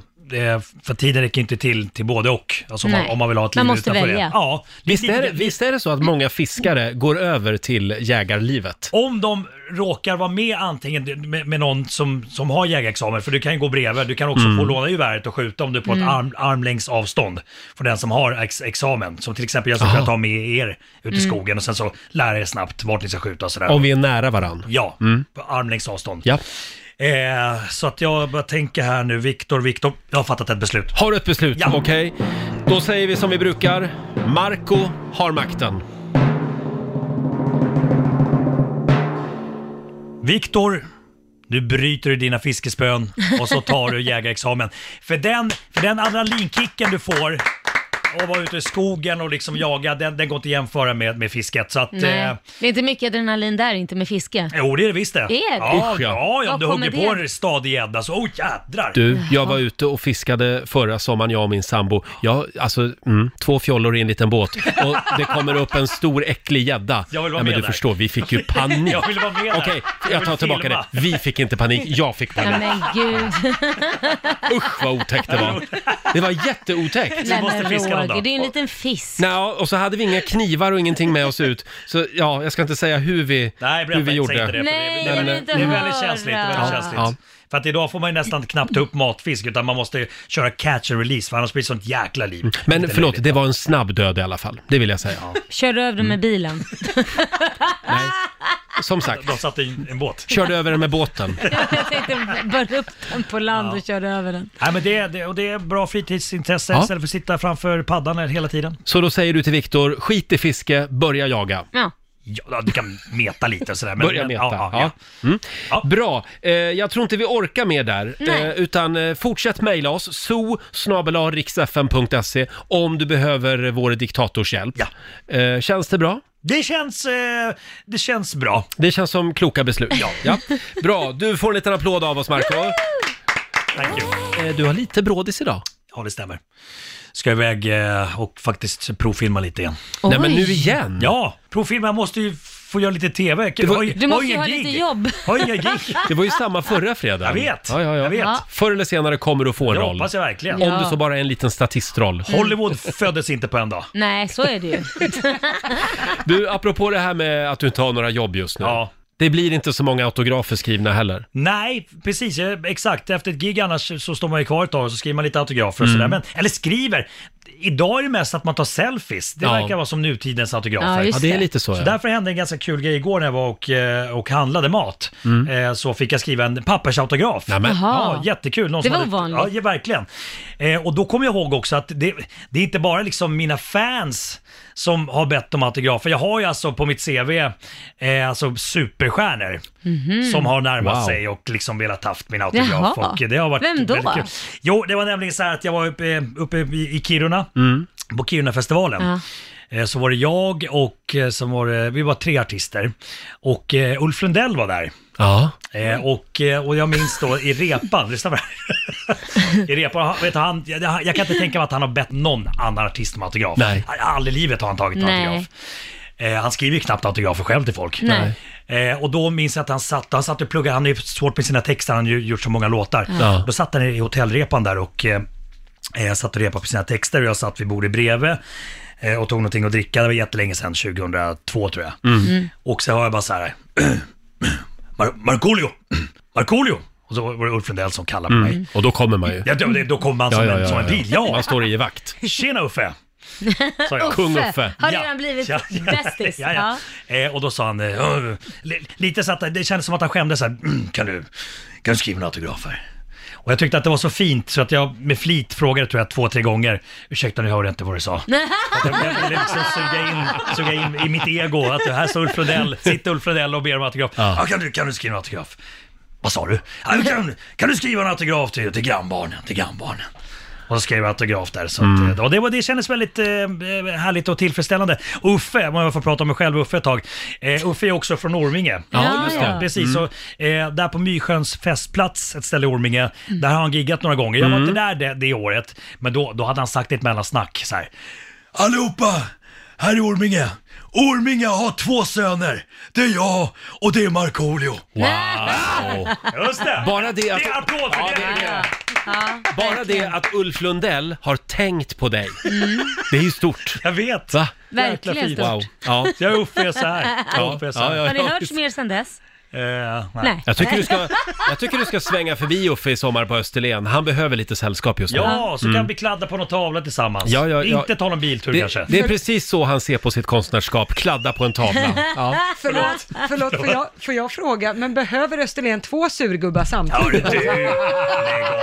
eh, för tiden räcker inte till till både och. Alltså om, man, Nej. om man vill ha ett Man liv måste utanför välja. det. Ja, Visst är det- visst är det så att många fiskare går över till jägarlivet? Om de råkar vara med antingen med, med någon som, som har jägarexamen, för du kan ju gå bredvid, du kan också Mm. få låna geväret och skjuta om du är på Mm. ett arm, armlängds avstånd från den som har ex, examen. Som till exempel jag skulle Aha. kunna ta med er ut i Mm. skogen och sen så lära er snabbt vart ni ska skjuta och sådär. Om vi är nära varann. Ja, Mm. på armlängds avstånd. Ja. Eh, så att jag bara tänker här nu, Viktor, Viktor, jag har fattat ett beslut. Har du ett beslut? Ja. Okej. Då säger vi som vi brukar. Marco har makten. Viktor, nu bryter du dina fiskespön och så (laughs) tar du jägarexamen. För den, för den adrenalinkicken du får och vara ute i skogen och liksom jaga, den, den går inte att jämföra med, med fisket. Så att, eh, Nej. Det är inte mycket adrenalin där inte med fiske. jo, det är det visst det. Är det? Ja, Usch, ja. ja, ja Var om du hugger kommer på det? en stadig gädda så, oh jädrar! Du, jag var ute och fiskade förra sommaren, jag och min sambo. Jag, alltså, mm, två fjollor i en liten båt och det kommer upp en stor äcklig gädda. Jag vill vara ja, men med du där. förstår, vi fick ju panik. (laughs) Jag vill vara med där. Okej, Jag jag vill tar tillbaka filma. det. Vi fick inte panik, jag fick Ja, panik. men gud. (laughs) Usch vad otäckt det (laughs) var. Det var jätteotäckt. Nej, men Roger, det är ju en liten fisk. Nå, och så hade vi inga knivar och ingenting med oss ut. Så ja, jag ska inte säga hur vi, Nej, berätta hur vi inte, gjorde. säg inte det. för Nej, det, jag är- det, vill är- inte det är väldigt höra. känsligt. Det är väldigt Ja. känsligt. Ja. För att idag får man ju nästan knappt ta upp matfisk utan man måste köra catch and release för annars blir det sånt jäkla liv. Mm. Men förlåt, det var en snabb död i alla fall. Det vill jag säga. Körde över dem Mm. med bilen. (laughs) Som sagt. De satt i en båt. Körde över den med (laughs) båten. jag tänkte bara upp den på land och körde över den. Nej, men det, det, och det är bra fritidsintresse Ja. istället för att sitta framför paddan hela tiden. Så då säger du till Viktor, skit i fiske, börja jaga. Ja. Ja, du kan meta lite och sådär. men- Börja men- meta. ja, Ja, ja, Mm. Bra, eh, jag tror inte vi orkar mer där. Nej. Eh, utan eh, fortsätt mejla oss, so om du behöver vår diktators hjälp. Eh, känns det bra? Det känns, eh, det känns bra. Det känns som kloka beslut. Ja. Bra, du får en liten applåd av oss Marco. Thank you. Eh, Du har lite brådis idag. Ja, det stämmer. Ska iväg eh, och faktiskt provfilma lite igen. Nej, men Oj. nu igen? Ja, provfilma. Jag måste ju få göra lite TV. Det var- Du måste inga ju ha gig. lite Ah, jobb. Har inga gig. Det var ju samma förra fredagen. Jag vet. Ja, ja, ja. Jag vet. Ja. Förr eller senare kommer du att få en Det roll. hoppas jag verkligen. Mm. Om Ja. du så bara är en liten statistroll. Hollywood föddes inte på en dag. Nej, så är det (laughs) ju. Du, apropå det här med att du inte har några jobb just nu. Det blir inte så många autografer skrivna heller. Nej, precis. eh, Exakt. Efter ett gig annars så står man ju kvar ett tag och så skriver man lite autografer och Mm. sådär. Men, eller skriver. Idag är det mest att man tar selfies. Det Ja. verkar vara som nutidens autografer. Ja, just Ja, det är det. lite så, Så ja. därför hände en ganska kul grej igår när jag var och, eh, och handlade mat. Mm. Eh, Så fick jag skriva en pappersautograf. Nämen. Jaha. Ja, jättekul. Det som var hade- ovanligt. Ja, ja, verkligen. Eh, Och då kommer jag ihåg också att det, det är inte bara liksom mina fans som har bett om autografer. Jag har ju alltså på mitt CV eh, alltså superstjärnor Mhm. som har närmat Wow. sig och liksom velat haft min autograf. Jaha. Och det har varit Vem då? väldigt kul. Jo, det var nämligen så här att jag var uppe, uppe i i Kiruna, på Kirunafestivalen. Ja. Eh, Så var det jag och eh, så var det, vi var tre artister. Och eh, Ulf Lundell var där. Ja. Eh, och, eh, och jag minns då i repan, lyssna på det här. I repan, han- vet du, han, jag, jag kan inte tänka mig att han har bett någon annan artist om autograf. Nej. Aldrig i livet har han tagit en Nej. autograf. Eh, han skriver ju knappt autografer själv till folk. Nej. Eh, och då minns jag att han satt, han satt och pluggade, han är ju svårt med sina texter, han har ju gjort så många låtar. Ja. Då satt han i hotellrepan där och eh, eh, satt och repade på sina texter och jag satt vid bordet bredvid eh, och tog någonting att dricka, det var jättelänge sedan, 2002 tror jag. Mm. Mm. Och så har jag bara så här, (clears throat) Mar- Markoolio! (clears throat) Markoolio! Och så var det Ulf Lundell som kallade på mig. Mm. Och då kommer man ju. Ja, då, då kommer man som, en, som en bil, ja. Man står i vakt. Tjena Uffe! Sa jag. Kung Uffe. Har redan blivit bästis. Ja, ja. Eh, och då sa han, eh, "Åh", li- lite så att det kändes som att han skämdes så här, "Mm, kan du, kan du skriva en autograf här? Och jag tyckte att det var så fint så att jag med flit frågade tror jag två, tre gånger, ursäkta nu hörde jag inte vad du sa. Att jag jag ville liksom suga in, suga in i mitt ego att här står Ulf Lundell, sitter Ulf Lundell och ber om autograf. Ja. kan, du, kan du skriva en autograf? Ah, Vad sa du? "Ja, Kan, kan du skriva en autograf till, till grannbarnen? Till grannbarnen? Och så skrev jag autograf där. Så Mm. att, eh, och det, var, det kändes väldigt eh, härligt och tillfredsställande. Uffe, om jag får prata om mig själv Uffe ett tag. Eh, Uffe är också från Orminge. Eh, Ja, just det. Precis, Mm. så, eh, där på Mysjöns festplats, ett ställe i Orminge, där har han giggat några gånger. Jag var Mm. inte där det, det året, men då, då hade han sagt i ett mellansnack så här. Allihopa! Här är Orminge. Orminge har två söner. Det är jag och det är Markoolio. Wow! Just det! Bara det att... Det är applåd för det! Ja, Bara det att Ulf Lundell har tänkt på dig. Mm. Det är ju stort. Jag vet. Va? Verkligen Jäkla fint. stort. Wow. Ja. Jag är Uffe jag är så här. Ja, Uffe jag är så ja, här. ja, Har ni ja, hört visst. mer sedan dess? Eh, nej. Nej. Jag tycker, (laughs) du ska, jag tycker du ska svänga förbi Uffe i sommar på Österlen. Han behöver lite sällskap just nu. (laughs) Ja, så kan Mm. vi kladda på någon tavla tillsammans. Ja, ja, ja. Inte ta någon biltur kanske. Det, det är precis så han ser på sitt konstnärskap, kladda på (laughs) en tavla. (laughs) Ja. Förlåt, förlåt får, jag, får jag fråga, men behöver Österlen två surgubbar Hörru samtidigt? du, lägg av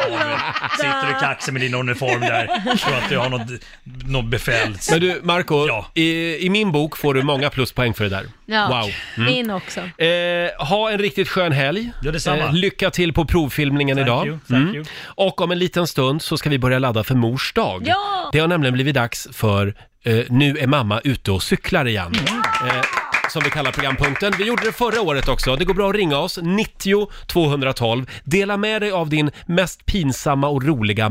nu. Sitter du kaxig med din uniform där. Tror att du har något, något befäl. Men du, Marco, Ja. i, i min bok får du många pluspoäng för det där. Ja. Wow. Mm. Min också. Eh, ha en riktigt skön helg. Eh, Ja, detsamma. lycka till på provfilmningen Thank idag. Mm. you, thank you. Och om en liten stund så ska vi börja ladda för mors dag. Ja! Det har nämligen blivit dags för eh, Nu är mamma ute och cyklar igen. Mm. Eh, som vi kallar programpunkten. Vi gjorde det förra året också. Det går bra att ringa oss, 90 212. Dela med dig av din mest pinsamma och roliga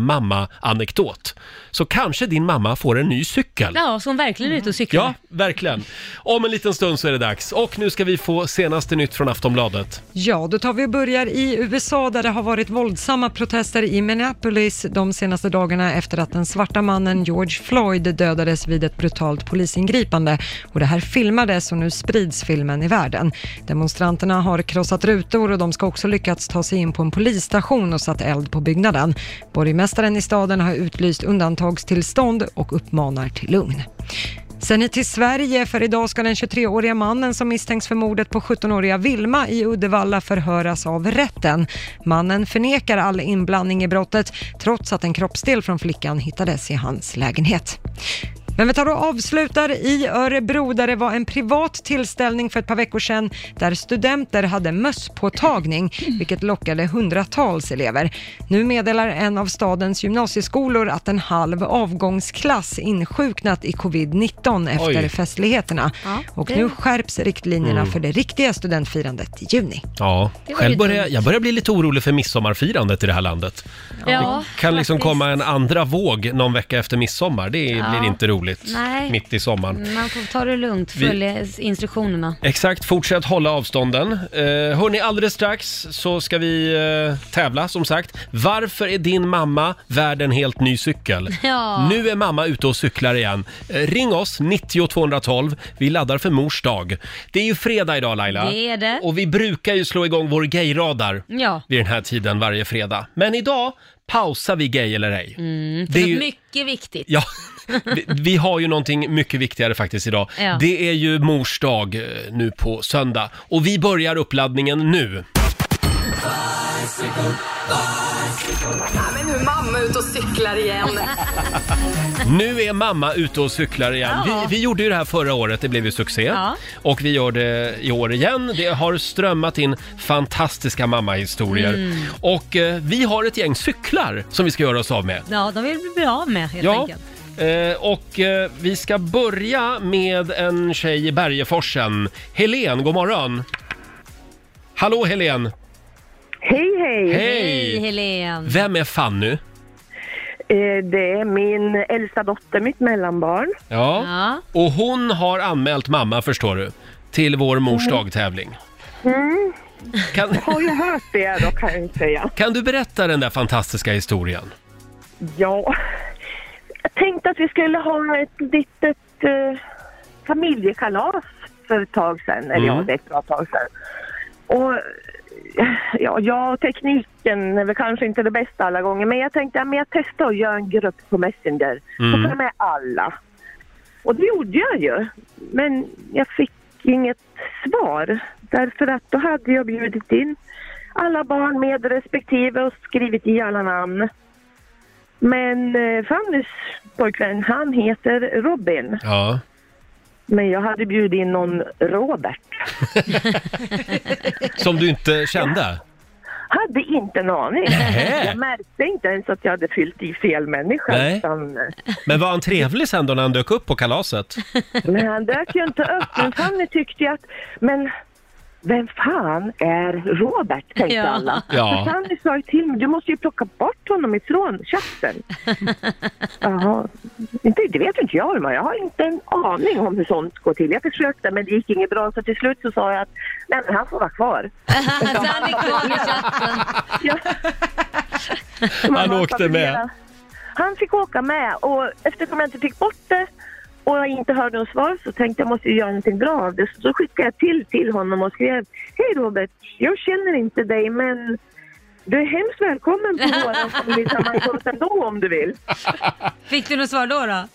mamma-anekdot. Så kanske din mamma får en ny cykel. Mm. Ja, så hon verkligen är ute och cyklar. Ja, verkligen. Om en liten stund så är det dags. Och nu ska vi få senaste nytt från Aftonbladet. Ja, då tar vi och börjar i USA där det har varit våldsamma protester i Minneapolis de senaste dagarna efter att den svarta mannen George Floyd dödades vid ett brutalt polisingripande. Och det här filmades och nu sprids filmen i världen. Demonstranterna har krossat rutor och de ska också lyckats ta sig in på en polisstation och satt eld på byggnaden. Borgmästaren i staden har utlyst undantagstillstånd och uppmanar till lugn. Sen hit till Sverige, för idag ska den 23-åriga mannen som misstänks för mordet på 17-åriga Vilma i Uddevalla förhöras av rätten. Mannen förnekar all inblandning i brottet trots att en kroppsdel från flickan hittades i hans lägenhet. Men vi tar och avslutar i Örebro där det var en privat tillställning för ett par veckor sedan där studenter hade mösspåtagning vilket lockade hundratals elever. Nu meddelar en av stadens gymnasieskolor att en halv avgångsklass insjuknat i covid-19 efter Oj. festligheterna. Ja, och det- nu skärps riktlinjerna Mm. för det riktiga studentfirandet i juni. Ja, Det var själv lite börjar, dumt. jag börjar bli lite orolig för midsommarfirandet i det här landet. Ja, Kan liksom faktiskt. komma en andra våg någon vecka efter midsommar. Det Ja. blir inte roligt Nej. mitt i sommaren. Mm, Man får ta det lugnt, Vi- följa instruktionerna. Exakt, fortsätt hålla avstånden. Eh, hörni, alldeles strax så ska vi eh, tävla som sagt. Varför är din mamma värd en helt ny cykel? (laughs) Ja. Nu är mamma ute och cyklar igen. Eh, ring oss, 90 212. Vi laddar för mors dag. Det är ju fredag idag Laila. Det är det. Och vi brukar ju slå igång vår gayradar Ja. vid den här tiden varje fredag. Men idag pausar vi gay eller ej. Mm, Det det är är ju- mycket viktigt. Ja, vi, vi har ju någonting mycket viktigare faktiskt idag. Ja. Det är ju mors dag eh, nu på söndag och vi börjar uppladdningen nu. Men nu är mamma ute och cyklar (laughs) igen. Nu är mamma ute och cyklar igen. Ja. Vi, vi gjorde ju det här förra året, det blev ju succé. Ja. Och vi gör det i år igen. Det har strömmat in fantastiska mammahistorier. Mm. Och eh, vi har ett gäng cyklar som vi ska göra oss av med. Ja, de vill vi bli av med helt enkelt. eh, och eh, vi ska börja med en tjej i Bergeforsen. Helen, god morgon. Hallå Helen! Hej, hej! Hej! Hej Helen! Vem är Fanny? Eh, Det är min äldsta dotter, mitt mellanbarn. Ja. Ja. Och hon har anmält mamma, förstår du, till vår Mm. mors dagtävling. Kan, Har jag hört det då kan jag inte säga. kan du berätta den där fantastiska historien? Ja, jag tänkte att vi skulle ha ett litet eh, familjekalas för ett tag sedan. Eller ja, Mm. det är ett bra tag sedan. Och ja, ja, tekniken är väl kanske inte det bästa alla gånger. Men jag tänkte att jag testar att göra en grupp på Messenger. Mm. Så får jag med alla. Och det gjorde jag ju. Men jag fick inget svar. Därför att då hade jag bjudit in alla barn med respektive och skrivit i alla namn. Men eh, Fannys pojkvän, han heter Robin. Ja. Men jag hade bjudit in någon Robert. (laughs) Som du inte kände? Hade inte en aning. Nähä. Jag märkte inte ens att jag hade fyllt i fel människa. Nej. Utan, Men var han trevlig sen då när han dök upp på kalaset? men han dök ju inte upp. Men Fanny tyckte ju att, men vem fan är Robert, tänkte Ja. alla. Ja. För Fanny sa ju till mig, du måste ju plocka bort honom ifrån chatten. Jaha, inte, det vet inte jag Irma. Jag har inte en aning om hur sånt går till. Jag försökte men det gick inget bra så till slut så sa jag att, nej men han får vara kvar. Han är kvar i chatten. Han åkte med. Han fick åka med och eftersom jag inte fick bort det och jag inte hörde något svar så tänkte jag måste ju göra någonting bra av det. Så då skickade jag till till honom och skrev Hej Robert, jag känner inte dig men du är hemskt välkommen på (laughs) våran familjesammankomst ändå om du vill. Fick du något svar då? då?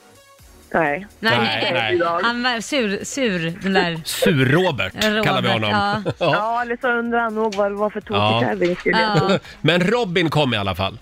Nej. Nej, nej. Han var sur, sur den där. Sur-Robert kallar vi honom. Ja. Ja, eller så undrar han nog vad det var för tokig tävling. skulle jag tro. Ja. (laughs) Men Robin kom i alla fall.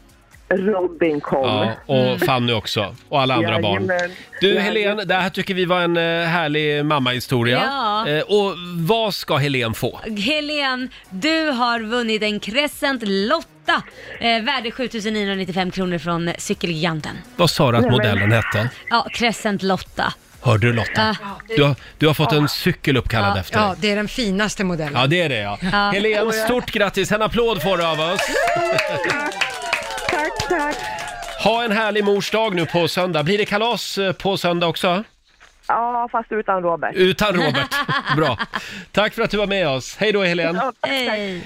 Robin kom. Ja, och Fanny också. Och alla andra barn. Jajamän. Du Jajamän. Helen, det här tycker vi var en eh, härlig mammahistoria. Ja. Eh, Och vad ska Helen få? Helen, du har vunnit en Crescent Lotta. Eh, värde 7995 kronor från eh, Cykelgiganten. Vad sa du att modellen hette? Ja, Crescent Lotta. Hörde du Lotta? Ja. Du har, du har fått en cykel uppkallad efter dig. Ja, det är den finaste modellen. Ja, det är det ja. Ah. Ja. Helen, stort grattis! En applåd får du av oss. Tack, tack. Ha en härlig morsdag nu på söndag. Blir det kalas eh, på söndag också? Ja, fast utan Robert. Utan Robert. (laughs) Bra. Tack för att du var med oss. Hej då Helen. Ja, tack,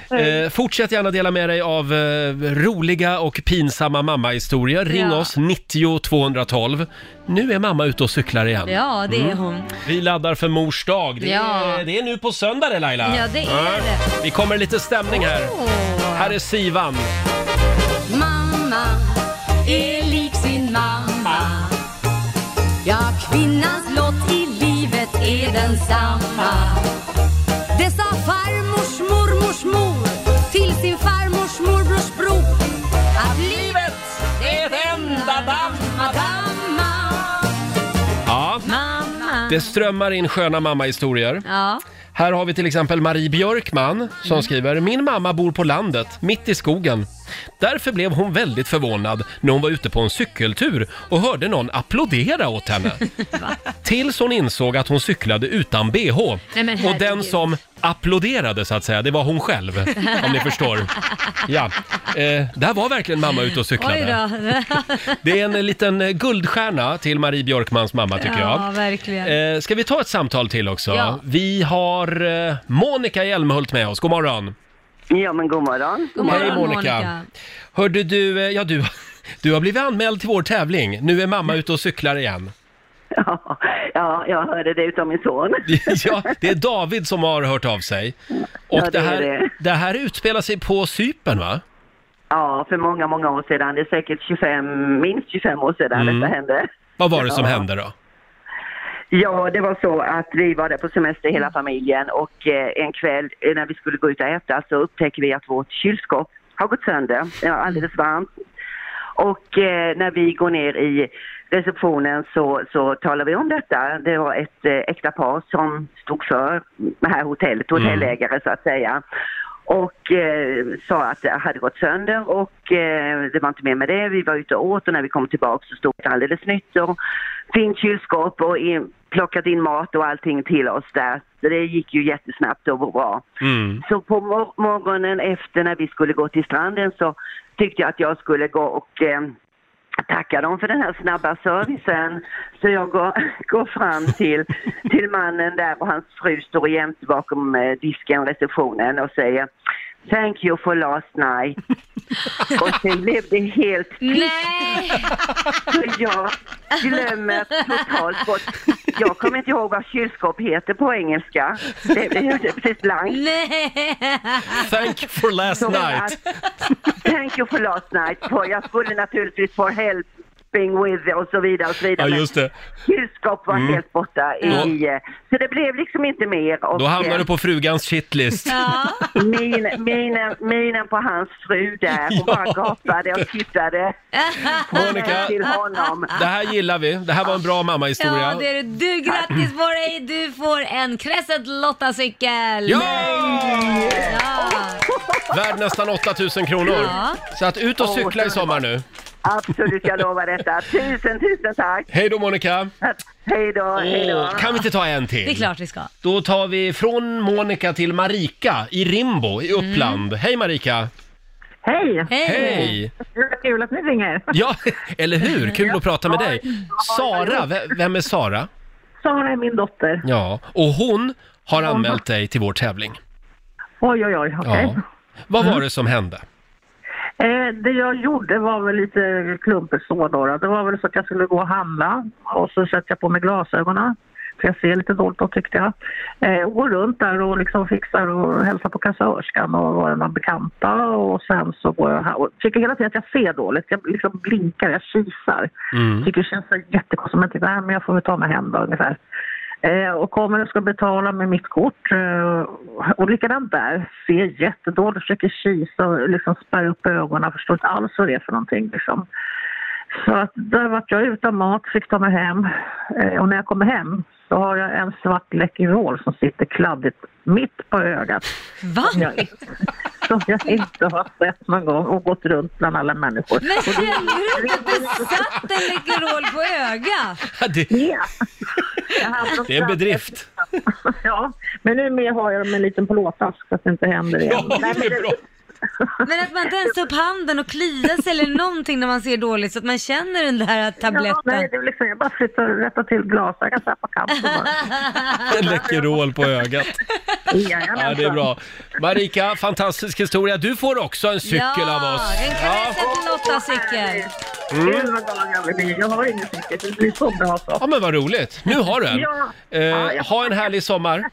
tack. Eh, fortsätt gärna dela med dig av eh, roliga och pinsamma mammahistorier. Ring Ja. oss, 90 212. Nu är mamma ute och cyklar igen. Mm. Ja, det är hon. Vi laddar för mors dag. Det, Ja. är, det är nu på söndag det Laila. Ja, det är Vi kommer lite stämning här. Här är Sivan. Mamma är lik sin mamma Ja, kvinnans lott i livet är densamma Det sa farmors mormors mor till sin farmors morbrors bror Att livet är ett enda damma, damma Ja. Mamma. Det strömmar in sköna mammahistorier. Ja. Här har vi till exempel Marie Björkman Mm. som skriver Min mamma bor på landet, mitt i skogen. Därför blev hon väldigt förvånad när hon var ute på en cykeltur och hörde någon applådera (laughs) åt henne. Tills hon insåg att hon cyklade utan men bh. och herregud. den som applåderade så att säga, det var hon själv. om ni förstår. Ja, eh, där var verkligen mamma ute och Oj cyklade. då. Det är en liten eh, guldstjärna till Marie Björkmans mamma tycker jag. Ja, verkligen. Eh, ska vi ta ett samtal till också? Ja. Vi har eh, Monica Hjelmhult med oss. God morgon! Ja, men god morgon. God morgon, Hej Monica! Monica. Hörde du, eh, ja du, (laughs) du har blivit anmäld till vår tävling. Nu är mamma ute och cyklar igen. Ja, jag hörde det utav min son. (laughs) ja, det är David som har hört av sig. Och Ja, det det, är här, det. det. här utspelar sig på Cypern va? Ja, för många, många år sedan. Det är säkert 25, minst 25 år sedan Mm. detta hände. Vad var det som Ja. hände då? Ja, det var så att vi var där på semester hela familjen och eh, en kväll eh, när vi skulle gå ut och äta så upptäcker vi att vårt kylskåp har gått sönder. Det var alldeles varmt. Och eh, när vi går ner i receptionen så, så talar vi om detta. Det var ett eh, äkta par som stod för det här hotellet, hotellägare så att säga. Och eh, sa att det hade gått sönder och eh, det var inte mer med det. Vi var ute och åt och när vi kom tillbaka så stod det alldeles nytt och fint kylskåp och in, plockat in mat och allting till oss där. Så det gick ju jättesnabbt och var bra. Mm. (laughs) Så på mor- morgonen efter när vi skulle gå till stranden så tyckte jag att jag skulle gå och eh, tacka dem för den här snabba servicen. Så jag går, (laughs) går fram till, till mannen där och hans fru står jämt bakom eh, disken och receptionen och säger Thank you for last night. och sen blev det helt Nej! Så jag glömmer totalt bort. Jag kommer inte ihåg vad kylskåp heter på engelska. Det, det, det är precis blankt. Nej! Thank you for last Så night. att- Thank you for last night. På, jag skulle naturligtvis for help shopping with och så vidare. Och så vidare. Ja, just det. Men Kylskåp var Mm. helt borta. I, Då- eh, Så det blev liksom inte mer. Och, Då hamnar eh, du på frugans shitlist. Min, minen, minen på hans fru där, (laughs) hon bara gapade och tittade. Monica, (laughs) till honom. Det här gillar vi. Det här var en bra Ja, mammahistoria. det är det. Du, grattis på dig! Du får en Crescent Lotta-cykel! Ja! Ja! Värd nästan 8000 kronor. Ja. Så att ut och Åh, cykla i sommar nu. Absolut, jag lovar detta. Tusen, tusen tack! Hej då Monica! Hej då, hej då! Åh, kan vi inte ta en till? Det är klart vi ska. Då tar vi från Monica till Marika i Rimbo i Uppland. Mm. Hej Marika! Hej! Hej! Vad kul att ni ringer. Ja, (laughs) eller hur? Kul att prata med dig. Sara, ve- vem är Sara? Sara är min dotter. Ja, och hon har anmält dig till vår tävling. (laughs) Oj, oj, oj. okej. Mm. Ja. Vad var det som hände? (laughs) Eh, det jag gjorde var väl lite klumpigt så då. då. Det var väl så att jag skulle gå och handla och så sätter jag på mig glasögonen. För jag ser lite dåligt då tyckte jag. Eh, och går runt där och liksom fixar och hälsar på kassörskan och var det någon bekanta och sen så går jag här och tycker hela tiden att jag ser dåligt. Jag liksom blinkar, jag kisar. Mm. Tycker det känns så jättekonstigt men tycker, nej men jag får väl ta mig hem då ungefär. Eh, och kommer och ska betala med mitt kort. Eh, och likadant där, ser jättedåligt, försöker kisa och liksom spärra upp ögonen, förstår inte alls vad det är för någonting liksom. Så att där vart jag utan mat, fick ta mig hem. Eh, och när jag kommer hem så har jag en svart Läkerol som sitter kladdigt mitt på ögat. Va? Som jag, som jag inte har sett någon gång och gått runt bland alla människor. Men Och det- kände du inte att det satt en Läkerol på ögat? Det är en bedrift. (laughs) Ja, men numera har jag dem i en liten plåtask så att det inte händer igen. Ja, Nej, men det- Men att man inte ens tar upp handen och kliar sig eller någonting när man ser dåligt så att man känner den där Ja, nej, tabletten. det är liksom, jag bara flyttar och rättar till glasögat så här på kanten (laughs) bara. En Läkerol på ögat. Jajamensan. Ja, det är bra. Marika, fantastisk historia. Du får också en cykel ja, av oss. En Crescent Lotta-cykel. Mm. Gud vad glad jag blir. Jag har ingen cykel, det blir så bra så. Ja, men vad roligt. Nu har du en. (laughs) Ja. Eh, ha en härlig sommar.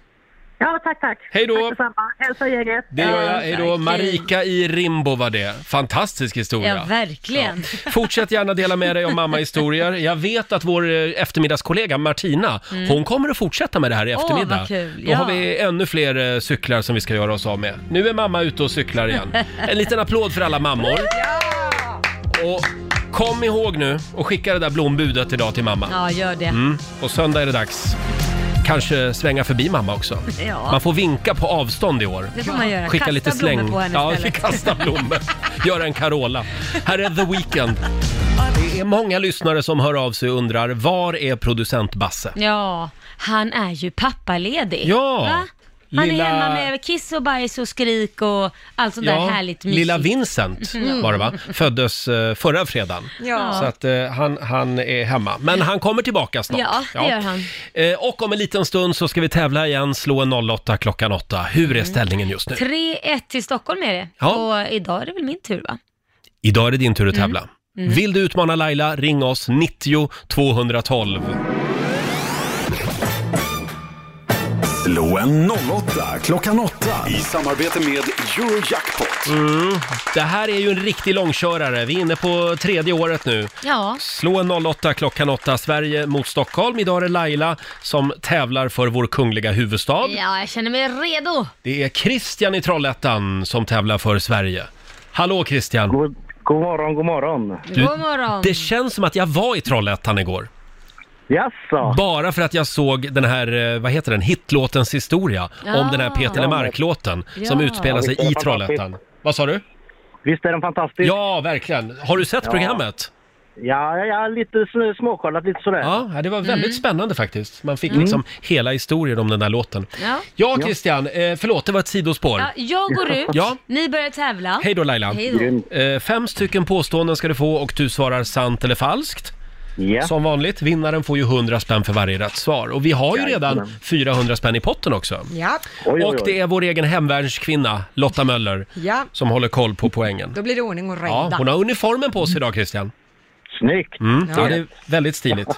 Ja, tack, tack. Hej då. Tack detsamma. Hälsa gänget. Det gör jag. Hej då. Marika i Rimbo var det. Fantastisk Ja, historia. verkligen. Fortsätt gärna dela med dig om mammahistorier. Jag vet att vår eh, eftermiddagskollega Martina, Mm. hon kommer att fortsätta med det här i Åh, eftermiddag. vad kul, Då har ja. vi ännu fler eh, cyklar som vi ska göra oss av med. Nu är mamma ute och cyklar igen. En liten applåd för alla mammor. Och kom ihåg nu och skicka det där blombudet idag till mamma. Ja, gör det. Mm. Och söndag är det dags. Kanske svänga förbi mamma också. Ja. Man får vinka på avstånd i år. Det får man göra. Skicka Kasta lite släng. blommor på henne ja, istället. (laughs) kasta blommor. Gör en Carola. Här är The Weeknd. Det är många lyssnare som hör av sig och undrar, var är producent Basse? Ja, han är ju pappaledig. Ja, Va? Han lilla- är hemma med kiss och bajs och skrik och allt sånt där härligt mysigt. Lilla Vincent Mm. var det va? Föddes eh, förra fredagen. Ja. Så att eh, han, han är hemma. Men han kommer tillbaka snart. Ja, det gör han. Eh, och om en liten stund så ska vi tävla igen, slå en 08 klockan 8. Hur Mm. är ställningen just nu? 3-1 till Stockholm är det. Ja. Och idag är det väl min tur va? Idag är det din tur att tävla. Mm. Vill du utmana Laila, ring oss 90 212. Slå en 08 klockan 8 i samarbete med Eurojackpot. Mm. Det här är ju en riktig långkörare. Vi är inne på tredje året nu. Ja. Slå en 08 klockan 8, Sverige mot Stockholm. Idag är det Laila som tävlar för vår kungliga huvudstad. Ja, jag känner mig redo. Det är Christian i Trollhättan som tävlar för Sverige. Hallå Christian! God, morgon, god morgon! God morgon. Det känns som att jag var i Trollhättan igår. Jaså? Bara för att jag såg den här, eh, vad heter den, hitlåtens historia. Ja. Om den här Peter Lemark-låten som Ja. utspelar sig Ja, i visst är den Trollhättan. fantastisk. Vad sa du? Visst är den fantastisk? Ja, verkligen. Har du sett Ja. programmet? Ja, ja, ja lite sn- småkollat lite sådär. Ja, det var väldigt spännande faktiskt. Man fick Mm. liksom hela historien om den där låten. Ja. Ja, Christian, eh, förlåt, det var ett sidospår. Ja, jag går ut, (laughs) Ja. ni börjar tävla. Hej då Laila. Hej då. Eh, Fem stycken påståenden ska du få och du svarar sant eller falskt. Som vanligt, vinnaren får ju 100 spänn för varje rätt svar. Och vi har ju redan Jajamän. 400 spänn i potten också. Ja. Och det är vår egen hemvärnskvinna, Lotta Möller, Ja, som håller koll på poängen. då blir det ordning och reda. Ja, hon har uniformen på sig idag Christian. Snyggt! Mm, ja, Ja. det är väldigt stiligt.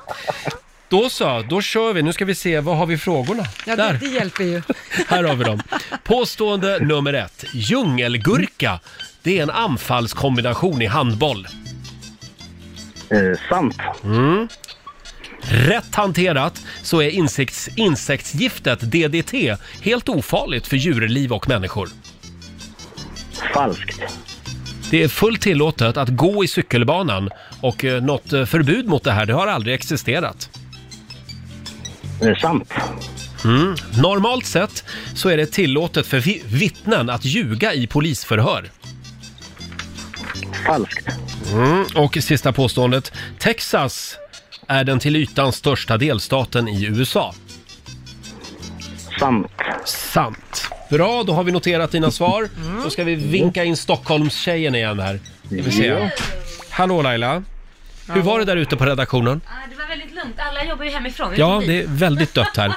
Då så, då kör vi. Nu ska vi se, vad har vi frågorna? Ja, det, Där, det hjälper ju. (laughs) här har vi dem. Påstående nummer ett. Djungelgurka, det är en anfallskombination i handboll. Eh, sant. Mm. Rätt hanterat så är insekts, insektsgiftet DDT helt ofarligt för djurliv och människor. Falskt. Det är fullt tillåtet att gå i cykelbanan och eh, något eh, förbud mot det här det har aldrig existerat. Eh, sant. Mm. Normalt sett så är det tillåtet för vi- vittnen att ljuga i polisförhör. Falskt. Mm. Och sista påståendet. Texas är den till ytan största delstaten i USA. Sant. Sant. Bra, då har vi noterat dina svar. Mm. Då ska vi vinka in Stockholmstjejen igen här. Ska vi se. Ja. Hallå Laila. Hur var det där ute på redaktionen? Ah, det var väldigt lugnt. Alla jobbar ju hemifrån. Ja, det är väldigt dött här.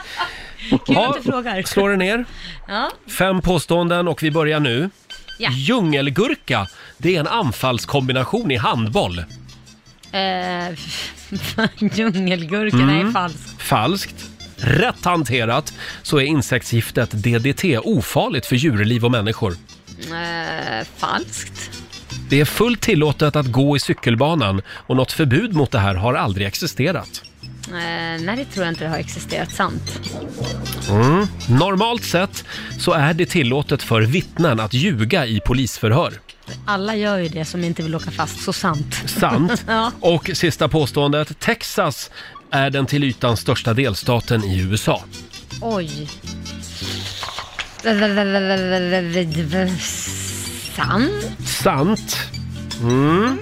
Kul att du frågar. slår det ner. Ja. Fem påståenden och vi börjar nu. Ja. Djungelgurka, det är en anfallskombination i handboll. Eh, (laughs) djungelgurka, Mm. nej falskt. Falskt. Rätt hanterat så är insektsgiftet DDT ofarligt för djurliv och människor. Eh, falskt. Det är fullt tillåtet att gå i cykelbanan och något förbud mot det här har aldrig existerat. Eh, nej, det tror jag inte har existerat sant. Mm. Normalt sett så är det tillåtet för vittnen att ljuga i polisförhör. Alla gör ju det som inte vill åka fast, så sant. Sant. (laughs) ja. Och sista påståendet, Texas är den till ytan största delstaten i USA. Oj. Sant? Sant. Mm.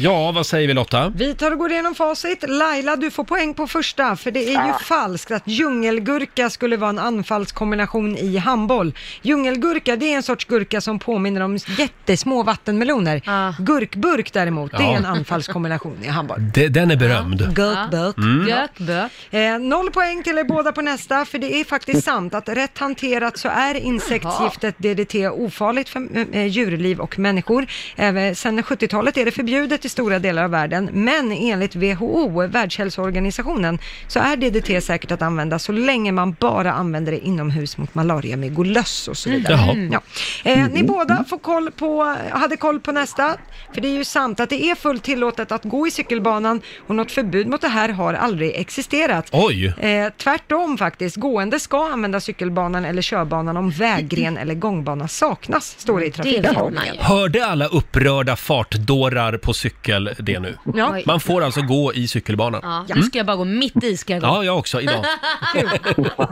Ja, vad säger vi Lotta? Vi tar och går igenom facit. Laila, du får poäng på första, för det är ju Ah. falskt att djungelgurka skulle vara en anfallskombination i handboll. Djungelgurka, det är en sorts gurka som påminner om jättesmå vattenmeloner. Gurkburk däremot, det Ja. är en anfallskombination i handboll. De, den är berömd. Gurkburk. Mm. Eh, noll poäng till er båda på nästa, för det är faktiskt sant att rätt hanterat så är insektsgiftet DDT ofarligt för eh, djurliv och människor. Även sen 70-talet är det förbjudet i stora delar av världen, men enligt WHO, Världshälsoorganisationen, så är DDT säkert att använda så länge man bara använder det inomhus mot malaria, mygolos och så vidare. Mhm. Ja. Eh, ni båda får koll på, hade koll på nästa, för det är ju sant att det är fullt tillåtet att gå i cykelbanan och något förbud mot det här har aldrig existerat. Oj! Eh, tvärtom faktiskt, gående ska använda cykelbanan eller körbanan om väggren eller gångbana saknas, står det i trafikförordningen. Hörde alla upprörda fartdårar på cykel det nu? Ja. Man får alltså gå i cykelbanan. Ja, nu Mm. ska jag bara gå mitt i ska jag gå. Ja, jag (laughs) också (laughs) idag.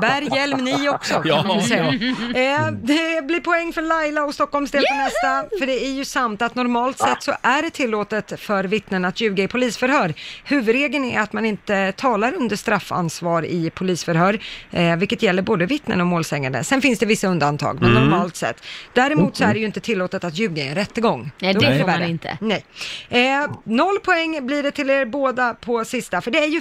Bär hjälm ni också kan Ja. man väl säga. Eh, det blir poäng för Laila och Stockholms del på nästa. För det är ju sant att normalt sett så är det tillåtet för vittnen att ljuga i polisförhör. Huvudregeln är att man inte talar under straffansvar i polisförhör, eh, vilket gäller både vittnen och målsägande. Sen finns det vissa undantag, men Mm. normalt sett. Däremot så är det ju inte tillåtet att ljuga i en rättegång. Mm. Nej, Då det är får man värre. inte. Nej. Eh, noll poäng blir det till er båda på sista, för det är ju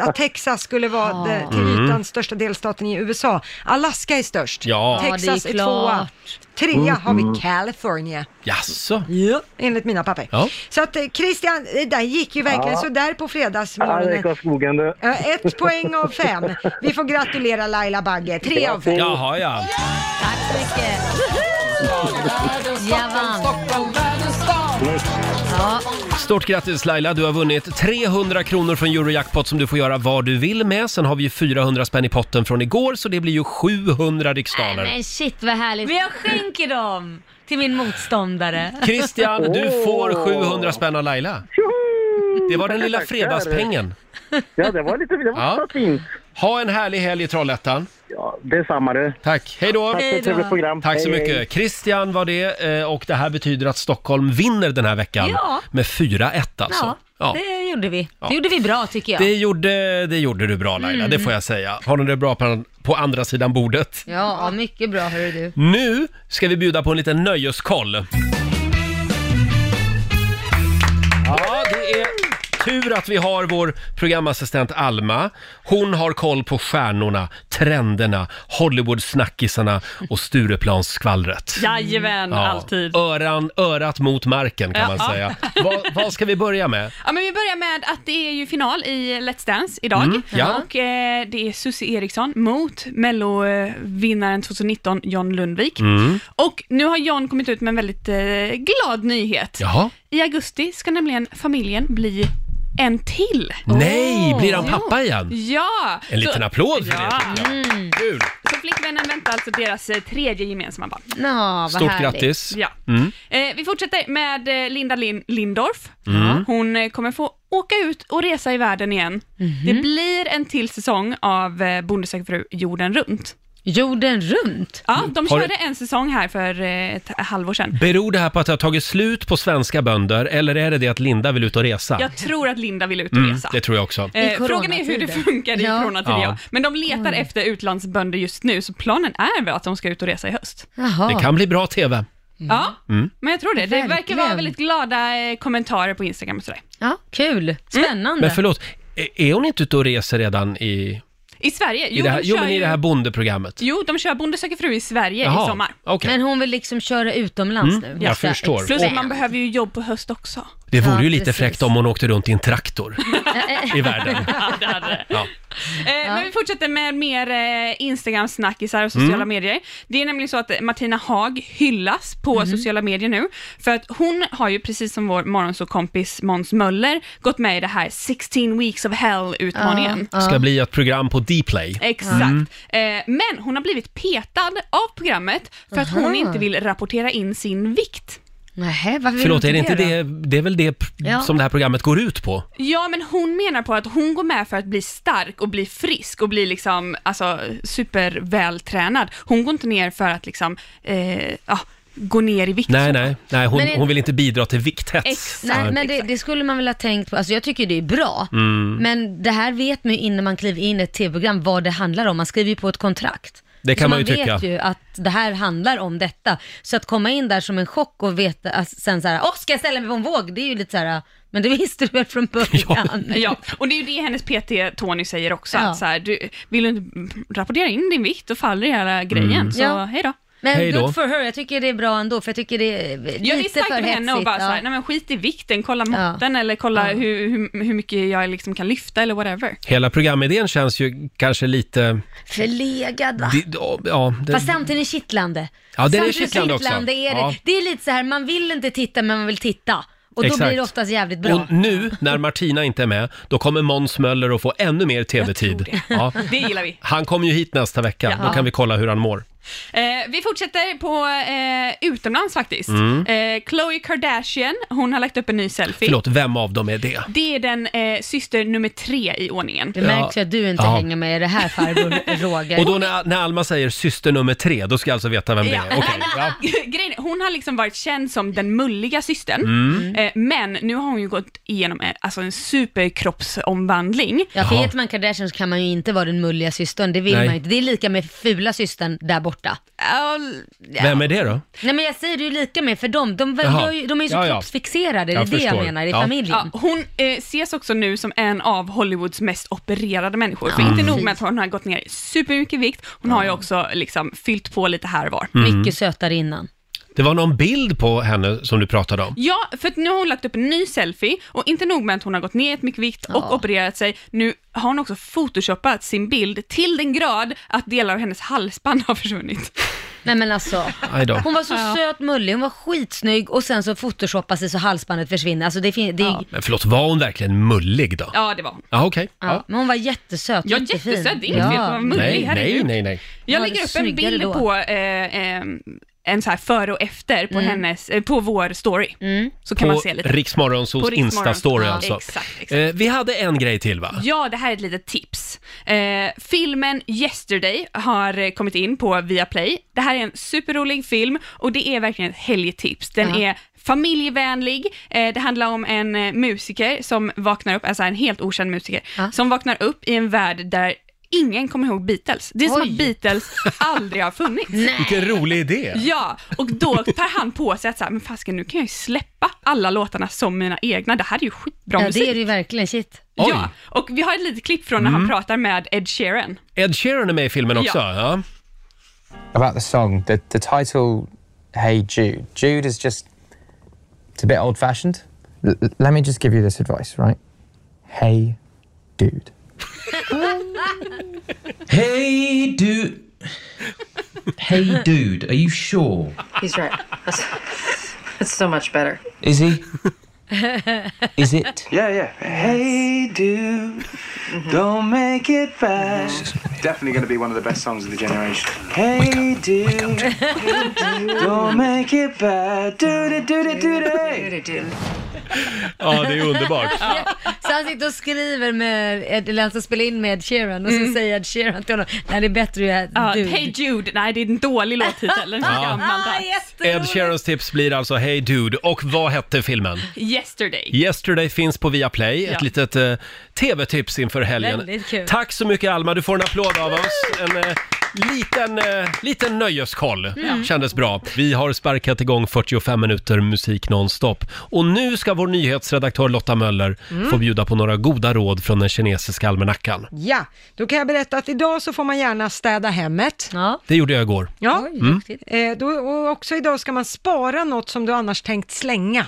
(laughs) att Texas skulle vara det, till Mm. ytan största delstaten i USA. Alaska är störst. Ja. Ja, Texas det är, är tvåa. Trea har Mhm. vi California. Jaså? Ja. Enligt mina papper. Ja. Så att eh, Christian, det där gick ju verkligen Ja. sådär på Ja, det fredagsmorgonen. gick åt skogen du. Ja, Ett poäng av fem. Vi får gratulera Laila Bagge. Tre av fem. Jaha, ja. Jag vann. Ja, Stort grattis Laila, du har vunnit 300 kronor från Eurojackpot som du får göra vad du vill med. Sen har vi ju 400 spänn i potten från igår så det blir ju 700 riksdaler. men shit vad härligt. Men jag skänker dem till min motståndare. Christian, du får 700 spänn av Laila. Det var den lilla Tackar. fredagspengen. Ja, det var lite det var så fint. Ha en härlig helg i Trollhättan. Ja, detsamma du. Tack, hej då. Tack för ett trevligt program. Tack så Hej, mycket. hej. Christian var det eh, och det här betyder att Stockholm vinner den här veckan Ja. med 4-1 alltså. Ja, det gjorde vi. Ja. Det gjorde vi bra tycker jag. Det gjorde, det gjorde du bra Laila, Mm. det får jag säga. Har du det bra på, på andra sidan bordet? Ja, mycket bra hörru du. Nu ska vi bjuda på en liten nöjeskoll. Ja, det är tur att vi har vår programassistent Alma. Hon har koll på stjärnorna, trenderna, Hollywoodsnackisarna och Stureplansskvallret. Jajamän, alltid. Öran, örat mot marken kan man Ja. säga. Vad, vad ska vi börja med? Ja, men vi börjar med att det är ju final i Let's Dance idag Mm, ja. och eh, det är Susie Eriksson mot Mello-vinnaren 2019 John Lundvik. Mm. Och nu har John kommit ut med en väldigt eh, glad nyhet. Jaha. I augusti ska nämligen familjen bli en till. Nej, blir han pappa igen? Ja! En liten Så- applåd för det, ja. tycker jag. Mm. Kul. Så flickvännen väntar alltså deras eh, tredje gemensamma barn. Nå, vad Stort grattis. Ja. Mm. Eh, vi fortsätter med eh, Linda Lin- Lindorff. Mm. Hon eh, kommer få åka ut och resa i världen igen. Det blir en till säsong av eh, Bonde söker fru jorden runt. Jorden runt? Ja, de Mm. Har du- körde en säsong här för eh, ett halvår sedan. Beror det här på att det har tagit slut på svenska bönder eller är det det att Linda vill ut och resa? Jag tror att Linda vill ut och Mm, resa. det tror jag också. Eh, frågan är hur det funkar i coronatider. Ja. Ja. Men de letar efter utlandsbönder just nu, så planen är väl att de ska ut och resa i höst. Det kan bli bra TV. Ja, Mm. men jag tror det. Det verkar vara Verkligen. väldigt glada eh, kommentarer på Instagram och sådär. Ja, kul. Spännande. Men förlåt, är- är hon inte ute och reser redan i, I Sverige? Jo, i, det, här, de jo, kör men i ju- det här bondeprogrammet? Jo, de kör Bonde söker fru i Sverige Jaha, i sommar. okej. Men hon vill liksom köra utomlands Mm, nu. jag förstår. Plus Och- att man behöver ju jobb på höst också. Det vore ju lite fräckt om hon åkte runt i en traktor. i världen. (laughs) Ja, det hade det. Ja. Eh, Men vi fortsätter med mer eh, Instagram-snackisar och sociala Mm. medier. Det är nämligen så att Martina Haag hyllas på Mm. sociala medier nu, för att hon har ju precis som vår morgonsåkompis Måns Möller gått med i det här 16 weeks of hell-utmaningen. Ska bli ett program på Dplay. Exakt. Mm. Eh, men hon har blivit petad av programmet för att hon Aha. inte vill rapportera in sin vikt. Nähä, varför vill Förlåt, hon är det inte då? det, det är väl det p- Ja. som det här programmet går ut på? Ja, men hon menar på att hon går med för att bli stark och bli frisk och bli liksom, alltså supervältränad. Hon går inte ner för att liksom, eh, ja, gå ner i vikt. liksom. Nej, nej, nej hon, Men det- hon vill inte bidra till vikthets. Nej, men det, det skulle man väl ha tänkt på. Alltså jag tycker det är bra. Mm. Men det här vet man ju innan man kliver in i ett tv-program vad det handlar om. Man skriver ju på ett kontrakt. Det kan så man man ju vet tycka. ju att det här handlar om detta. Så att komma in där som en chock och veta, att sen så här, åh ska jag ställa mig på en våg? Det är ju lite så här, men det (laughs) visste du väl (laughs) från början? Ja, och det är ju det hennes PT Tony säger också, Ja. att så här, du, vill du inte rapportera in din vikt, då faller hela grejen. Mm. Så Ja. hej då. Men Hej då. good for her, jag tycker det är bra ändå, för jag tycker det är lite Ja, det är starkt för av henne att hetsigt, bara ja. så här, nej men skit i vikten, kolla måtten eller kolla hur, hur, hur mycket jag liksom kan lyfta eller whatever. Hela programidén känns ju kanske lite... Förlegad va? di- Ja, det, Fast samtidigt kittlande. Ja, den är samtidigt kittlande också. Är det. Ja. det är lite så här, man vill inte titta men man vill titta. Och då Exakt. blir det oftast jävligt bra. Och nu när Martina inte är med, då kommer Måns Möller att få ännu mer tv-tid. Ja. (laughs) Det gillar vi. Han kommer ju hit nästa vecka, Ja. då kan vi kolla hur han mår. Eh, vi fortsätter på eh, utomlands faktiskt. Mm. Eh, Khloe Kardashian, hon har lagt upp en ny selfie. Förlåt, vem av dem är det? Det är den eh, syster nummer tre i ordningen. Det märks Ja. ju att du inte Ja. hänger med i det här (laughs) farbror Roger. Och då när, när Alma säger syster nummer tre, då ska jag alltså veta vem det är. (laughs) Okej, ja. Grejen är, hon har liksom varit känd som den mulliga systern, Mm. eh, men nu har hon ju gått igenom en, alltså en superkroppsomvandling. Ja, för heter man Kardashian så kan man ju inte vara den mulliga systern, det vill Nej. man ju inte. Det är lika med fula systern där borta. Vem är det då? Nej men jag säger det ju lika med för dem, de, de, Jaha. gör ju- de är ju så Ja, ja. kroppsfixerade, det är Jag det jag förstår. menar, i Ja. familjen. Ja, hon eh, ses också nu som en av Hollywoods mest opererade människor. För Ja, inte precis. nog med att hon har gått ner supermycket vikt, hon har ju också liksom fyllt på lite här och var. Mm. Mycket sötare innan. Det var någon bild på henne som du pratade om. Ja, för att nu har hon lagt upp en ny selfie och inte nog med att hon har gått ner ett mycket vikt och opererat sig, nu har hon också photoshoppat sin bild till den grad att delar av hennes halsband har försvunnit. Nej men alltså, Aj då. hon var så Ja. söt, mullig, hon var skitsnygg och sen så photoshoppar sig så halsbandet försvinner. Alltså det, fin- det ja. Men förlåt, var hon verkligen mullig då? ja, det var hon. Ja, okej. Ja, Men hon var jättesöt, Ja, jättefin. jättesöt. Det är inget fel på att vara mullig, Nej, nej, herregud. nej, nej. Jag Var lägger det upp en snyggare bild då? på eh, eh, en så här före och efter på, Mm. hennes, eh, på vår story. Så kan på man se lite. På Riksmorgonsos Riksmorgon. Insta-story Ja. alltså. Exakt, exakt. Eh, vi hade en grej till va? Ja, det här är ett litet tips. Eh, filmen Yesterday har eh, kommit in på Viaplay. Det här är en superrolig film och det är verkligen ett helgtips. Den Ja. är familjevänlig. Eh, det handlar om en eh, musiker som vaknar upp, alltså en helt okänd musiker, som vaknar upp i en värld där ingen kommer ihåg Beatles. Det är som Oj. att Beatles aldrig (laughs) har funnits. Vilken rolig idé! Ja, och då tar han på sig att så här, men fasken nu kan jag ju släppa alla låtarna som mina egna, det här är ju skitbra Ja, musik. det är det ju verkligen, shit. Ja, och vi har ett litet klipp från när han Mm. pratar med Ed Sheeran. Ed Sheeran är med i filmen också. Ja. Ja. about the song, the, the title, Hey Jude. Jude is just, it's a bit old fashioned. L- l- let me just give you this advice, right? Hey Dude. (laughs) (laughs) Hey, dude. hey, dude, are you sure? He's right. That's, that's so much better. Is he? Is it? yeah, yeah. Hey, dude, Mm-hmm. don't make it bad. Definitely going to be one of the best songs of the generation. Hey, dude, (laughs) don't make it bad. Doody, doody, doody. Ja, det är (laughs) underbart. Så han sitter och skriver med, Ed- eller han ska spela in med Ed Sheeran och så säger Ed Sheeran till honom, nej det är bättre att Mm. Ja, göra Dude. Hey Jude, nej det är en dålig låttitel. Den Ja. ska gammal Ah, där. Ed Sheerans tips blir alltså Hey Dude. Och vad hette filmen? Yesterday. Yesterday finns på Viaplay, Ja. ett litet eh, tv-tips inför helgen. Väldigt kul. Tack så mycket Alma, du får en applåd av oss. En eh, liten, eh, liten nöjeskoll Mm. kändes bra. Vi har sparkat igång 45 minuter musik nonstop. Och nu ska vår nyhetsredaktör Lotta Möller Mm. få bjuda på några goda råd från den kinesiska almanackan. Ja, då kan jag berätta att idag så får man gärna städa hemmet. Ja. Det gjorde jag igår. Ja, Mm. eh, då, och också idag ska man spara något som du annars tänkt slänga.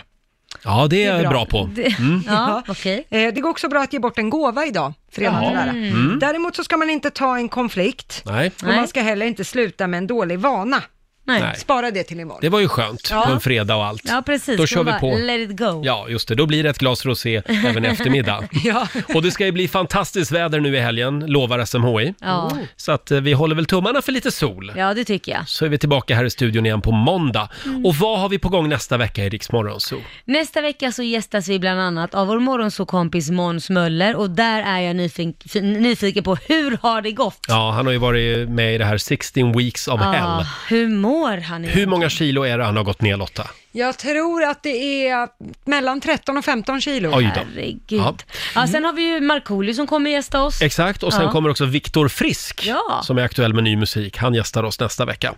Ja, det är jag bra på. (laughs) Det- Mm. (laughs) Ja, Eh, Det går också bra att ge bort en gåva idag, för redan Jaha. nära. Mm. Däremot så ska man inte ta en konflikt. Nej. Och man ska heller inte sluta med en dålig vana. Nej. Spara det till imorgon. Det var ju skönt Ja. på en fredag och allt. Ja precis, Då Man kör vi bara, på. let it go. Ja, just det. Då blir det ett (laughs) glas rosé även i eftermiddag. ja. Och det ska ju bli fantastiskt väder nu i helgen, lovar SMHI. Ja. Så att eh, vi håller väl tummarna för lite sol. (laughs) ja, det tycker jag. Så är vi tillbaka här i studion igen på måndag. Mm. Och vad har vi på gång nästa vecka i Rix Morgon Zoo? Nästa vecka så gästas vi bland annat av vår morgonsåkompis Måns Möller och där är jag nyfiken, nyfiken på hur har det gått? Ja, han har ju varit med i det här 16 weeks of hell. hur mår han? Hur många kilo är det han har gått ner Lotta? Jag tror att det är mellan 13 och 15 kilo. Oj då. Ja. Ja, sen har vi ju Markoolio som kommer gästa oss. Exakt, och sen Ja. kommer också Viktor Frisk Ja. som är aktuell med ny musik. Han gästar oss nästa vecka.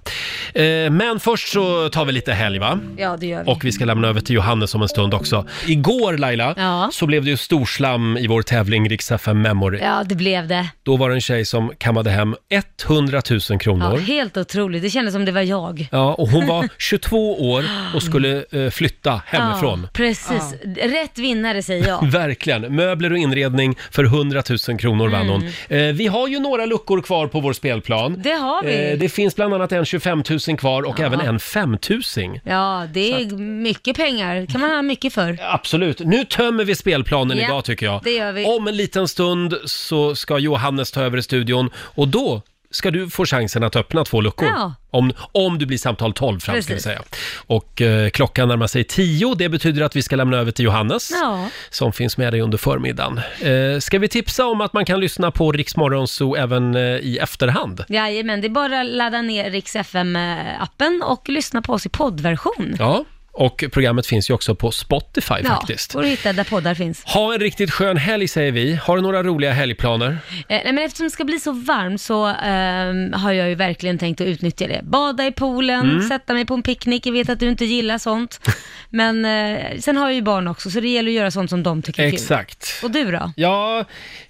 Eh, Men först så tar vi lite helg va? Ja, det gör vi. Och vi ska lämna över till Johannes om en stund också. Igår Laila, så blev det ju storslam i vår tävling Rix FM Memory. Ja, det blev det. Då var det en tjej som kammade hem 100 000 Ja, kronor. helt otroligt. Det kändes som det var jag. Ja, och (laughs) hon var 22 år och skulle eh, flytta hemifrån. Ja, precis. Rätt vinnare säger jag. Verkligen. Möbler och inredning för 100 000 kronor vann hon. Eh, vi har ju några luckor kvar på vår spelplan. Mm. Eh, Det har vi. det finns bland annat en 25 000 kvar och Ja. även en 5 000. Ja, det är mycket pengar. kan man ha mycket för. Absolut. Nu tömmer vi spelplanen Ja, idag tycker jag. det gör vi. Om en liten stund så ska Johannes ta över i studion och då ska du få chansen att öppna två luckor. Ja. Om, om du blir samtal 12 fram ska vi Precis. säga. Och eh, klockan närmar sig 10. Det betyder att vi ska lämna över till Johannes Ja. som finns med dig under förmiddagen. Eh, ska vi tipsa om att man kan lyssna på Riksmorgon Zoo även eh, i efterhand? Jajamän, det är bara att ladda ner Rix FM-appen och lyssna på oss i poddversion. Ja, och programmet finns ju också på Spotify Ja, faktiskt. går att hitta där poddar finns. Ha en riktigt skön helg säger vi. Har du några roliga helgplaner? Eh, nej, men eftersom det ska bli så varmt så ehm, har jag ju verkligen tänkt att utnyttja det. Bada i poolen, Mm. sätta mig på en picknick. Jag vet att du inte gillar sånt. (laughs) Men eh, sen har jag ju barn också, så det gäller att göra sånt som de tycker är kul. Exakt. Och du då? Ja,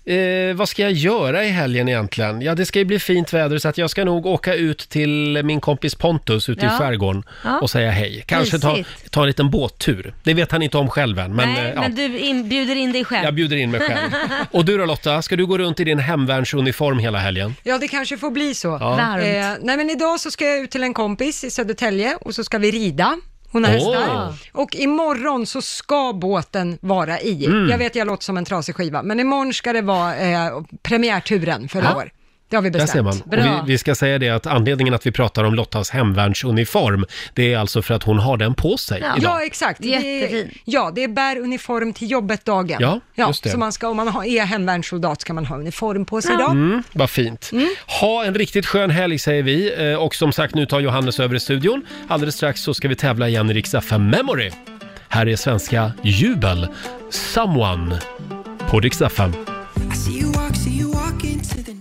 eh, vad ska jag göra i helgen egentligen? Ja, det ska ju bli fint väder så att jag ska nog åka ut till min kompis Pontus ute i Ja. skärgården Ja. och säga hej. Kanske ta, Mysigt. ta en liten båttur. Det vet han inte om själv än, men, nej, eh, ja, men du in, bjuder in dig själv. jag bjuder in (laughs) mig själv. Och du då Lotta, ska du gå runt i din hemvärnsuniform hela helgen? Ja, det kanske får bli så. Eh, Ja. Varmt. nej, men idag så ska jag ut till en kompis i Södertälje och så ska vi rida. Hon har Åh. hästar. Och imorgon så ska båten vara i. Mm. Jag vet, jag låter som en trasig skiva, men imorgon ska det vara eh, premiärturen för i Ja. år. Det har vi Där bestämt. ser man. Och vi, vi ska säga det att anledningen att vi pratar om Lottas hemvärnsuniform, det är alltså för att hon har den på sig Ja, idag. ja exakt. Jättefin. Ja, det är bär uniform till jobbet-dagen. Ja, just det. Så man ska, om man har, är hemvärnssoldat ska man ha uniform på sig idag. Mm, vad fint. Ha en riktigt skön helg säger vi. Eh, Och som sagt, nu tar Johannes över i studion. Alldeles strax så ska vi tävla igen i Rix FM Memory. Här är svenska Jubel, Someone, på Rix FM. You